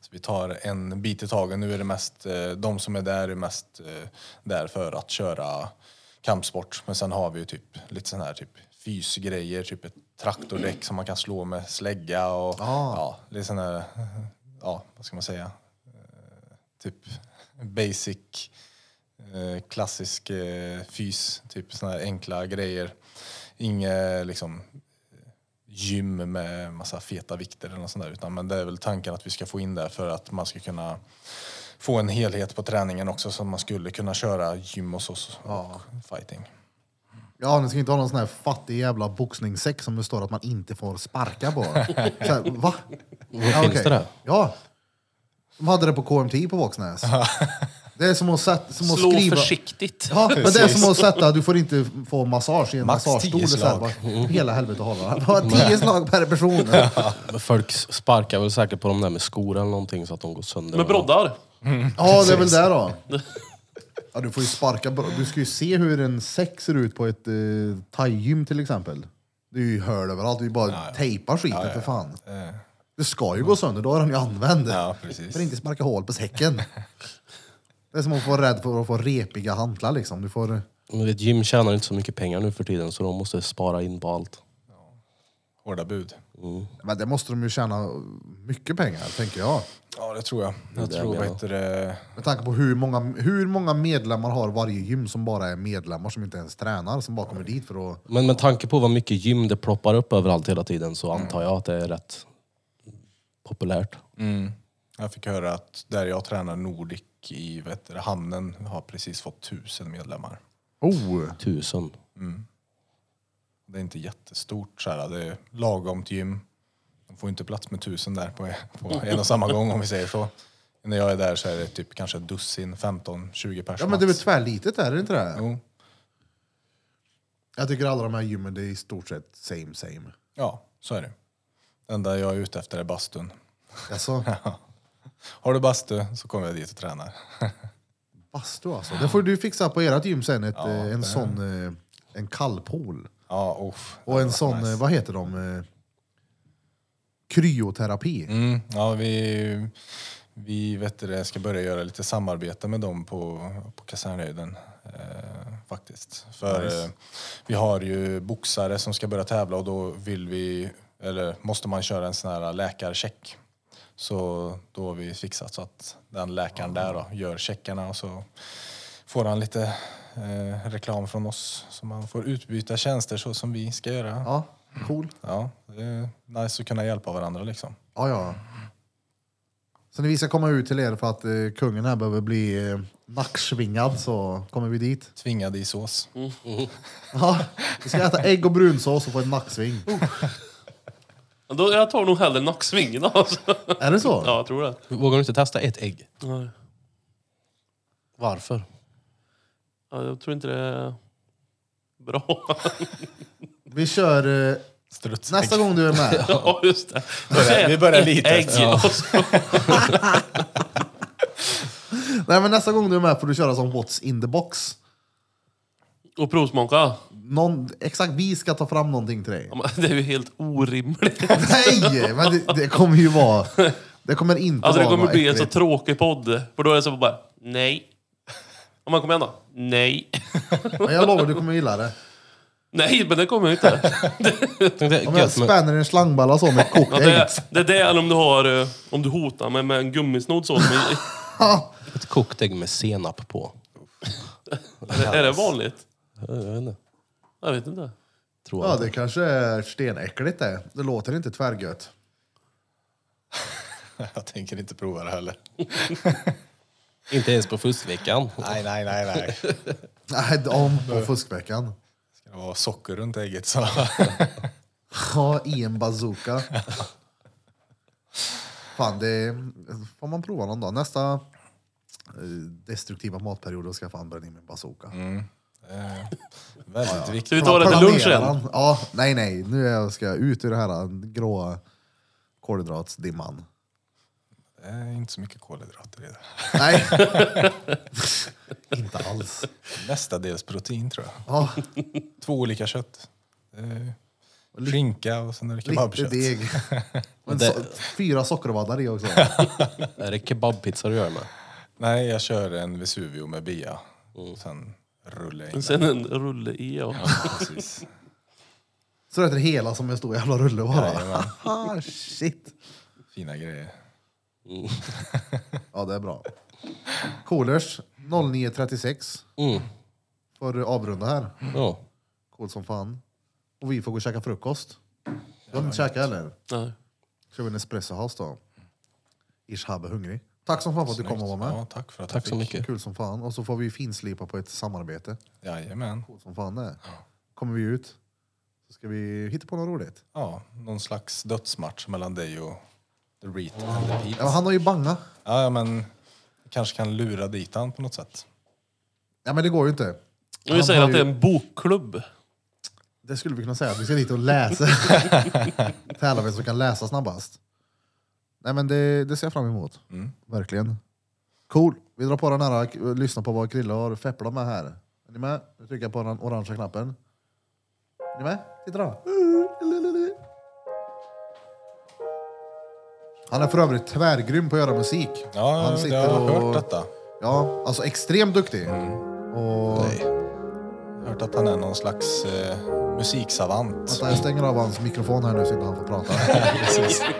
Så vi tar en bit i taget. Nu är det mest, eh, de som är där är mest eh, där för att köra kampsport. Men sen har vi ju typ lite sån här typ fysgrejer, typ ett traktordäck som man kan slå med slägga och Ah. ja, lite sån här, ja, vad ska man säga? Eh, Typ basic, eh, klassisk eh, fys, typ såna här enkla grejer. Inget liksom gym med massa feta vikter eller något sånt där. Utan, men det är väl tanken att vi ska få in det för att man ska kunna få en helhet på träningen också så att man skulle kunna köra gym och så och fighting. Ja, ni ska inte ha någon sån här fattig jävla boxningssäck som det står att man inte får sparka på. Så här, va? Ja, finns okej. det där? Ja. De hade det på KMT på Våxnäs. Det är som att, sätta, som att Slå skriva... försiktigt. Ja, men det är som att sätta, du får inte få massage i en Max massagestol. tio Så här, slag. bara, Hela helvete hålla. Ja, Tio slag per person. Men Folk sparkar väl säkert på de där med skor eller någonting så att de går sönder. Med broddar. Ja, det är väl det *laughs* då. Ja, du får ju sparka bra. Du ska ju se hur en säck ser ut på ett eh, thai-gym till exempel. Det är ju hål överallt. Du bara tejpar skiten för fan. Det ska ju gå sönder, då är den ju använd. Eh. Ja, precis. För inte sparka hål *laughs* på säcken. Det är som att få rädd för att få repiga hantlar liksom. Du får... Men vet, gym tjänar inte så mycket pengar nu för tiden så de måste spara in på allt. Hårda bud. Men det måste de ju tjäna mycket pengar, tänker jag. Ja, det tror jag. Jag det tror, jag vad menar. heter det? Med tanke på hur många, hur många medlemmar har varje gym som bara är medlemmar som inte ens tränar, som bara kommer dit för att... Men med tanke på vad mycket gym det ploppar upp överallt hela tiden så antar jag att det är rätt populärt. Mm. Jag fick höra att där jag tränar Nordic i vad heter det, hamnen har precis fått tusen medlemmar. Oh! Tusen. Det är inte jättestort så här. Det är lagom till gym. De får inte plats med tusen där på, på en och samma gång om vi säger så. När jag är där så är det typ kanske ett dussin, 15-20 personer. Ja men det är väl tvärlitet är det inte det? Jo. Jag tycker alla de här gymmen det är i stort sett same same. Ja, så är det. Det enda jag är ute efter är bastun. *laughs* Alltså, Har du bastu så kommer jag dit och tränar. bastu alltså. Det får du fixa på ert gym sen, ett, Ja, eh, en det- sån, eh, en kallpool. Ja, uff. Och en sån, eh, vad heter de? eh, Kryoterapi. Mm, ja, vi, vi vet det, ska börja göra lite samarbete med dem på, på kasernhöjden. Eh, faktiskt. För eh, vi har ju boxare som ska börja tävla och då vill vi, eller måste man köra en sån här läkarcheck. Så då har vi fixat så att den läkaren där då gör checkarna och så får han lite eh, reklam från oss. Så man får utbyta tjänster så som vi ska göra. Ja. Ja, cool. det är nice att kunna hjälpa varandra liksom. Ja, ja. Så när vi ska komma ut till er för att eh, kungen här behöver bli eh, nacksvingad så kommer vi dit. Tvingad i sås. Ja, vi ska äta ägg och brunsås och få en nacksving. Oh. Ja, Då, jag tar nog hellre nacksvingen alltså. *laughs* Är det så? Ja, jag tror det. Vågar du inte testa ett ägg? Nej. Varför? Ja, jag tror inte det är bra. *laughs* Vi kör eh, Strutsägg. nästa gång du *laughs* är med. Ja, just det. Börjar- vi börjar lite. Ägg. Ja. och så- Nej, men nästa gång du är med får du köra som What's in the box. Och provsmaka. Någon, exakt, vi ska ta fram någonting till dig. Ja, men Det är ju helt orimligt. Nej, men det, det kommer ju vara... Det kommer inte Alltså det vara kommer något bli en så äckligt. tråkig podd. För då är det så bara, nej. Om man kommer igen då? Nej. Men jag lovar, du kommer gilla det. Nej, men det kommer jag *laughs* inte. Jag tänkte, Om jag gött, men, spänner en slangballa så med kokt Ja, det, ägg. är- det är det eller om du har, eh, om du hotar mig med en gummisnodd så. Som *laughs* i, ett kokt ägg med senap på. är, det- är det vanligt? Jag vet inte. Jag vet inte. Tror jag. Ja, det kanske är stenäckligt det. Det låter inte tvärgött. Jag tänker inte prova det heller. Inte ens på fuskveckan. Nej, nej, nej, nej. Nej, om på fuskveckan. *laughs* Ska det vara socker runt ägget så... *laughs* Ja, i en bazooka. Fan, det får man prova någon dag. Nästa eh, destruktiva matperioden ska jag fan bränna in min bazooka. Eh, Väldigt viktigt. Ska vi ta det Planera till lunchen? den. Ja, nej, nej. Nu är jag- ska jag ut ur det här gråa kolhydratsdimman. Det är inte så mycket kolhydrater i det. Nej. Inte alls. Mestadels protein tror jag. Ja, Två olika kött. Det är Skinka och sen är det lite kebabkött. deg. Men Det- so fyra sockervaddar i också. Är det kebabpizza du gör med? Nej, jag kör en Vesuvio med bia. Sen rullar jag in Sen en rulle i och... den. Precis. Så det heter hela som en stor jävla rulle bara. *laughs* Ah, Shit. Fina grejer. Ja, det är bra. Coolers 09.36 Mm. får du avrunda här. Ja. Coolt som fan. Och vi får gå och käka frukost. Du har inte käkat eller? Nej. Kör vi en espresso house då. Ish Hab är hungrig. Tack som fan för att du kom och var med. Ja, tack för att Tack så jag fick. mycket. Kul som fan. Och så får vi finslipa på ett samarbete. Jajamän. Coolt som fan det är. Kommer vi ut så ska vi hitta på något roligt. Ja, någon slags dödsmatch mellan dig och The Reet and the Pete. Ja, han har ju banga. Ja, ja, men kanske kan lura dit han på något sätt. Ja men det går ju inte. Och Han vi säger har att det är ju- en bokklubb. Det skulle vi kunna säga. Vi ska dit *laughs* och läsa. Tävla vem som kan läsa snabbast. Nej men det, det ser jag fram emot. Mm. Verkligen. Cool. Vi drar på den här och k- lyssnar på vad Krille har fepplat med här. Är ni med? Nu trycker jag på den orangea knappen. Är ni med? Titta då. Han är för övrigt tvärgrym på att göra musik. Ja, Han ja, sitter jag har och- hört detta. Mm. Ja, alltså extremt duktig. Och... Nej. Jag har hört att han är någon slags eh, musiksavant. Vänta, jag stänger av hans mikrofon här nu så inte han får prata.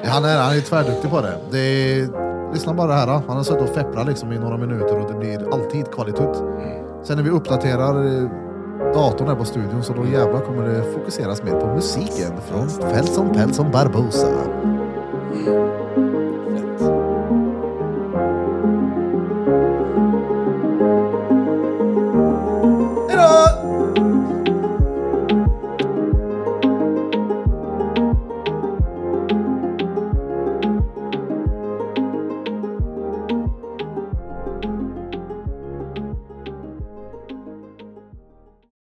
Ja, han, är, han är tvärduktig på det. det är, lyssna bara här. då. Han har suttit och fepplat liksom i några minuter och det blir alltid kvalitet. Sen när vi uppdaterar eh, datorn här på studion så då jävlar kommer det fokuseras mer på musiken från Felson Pelson Barbosa.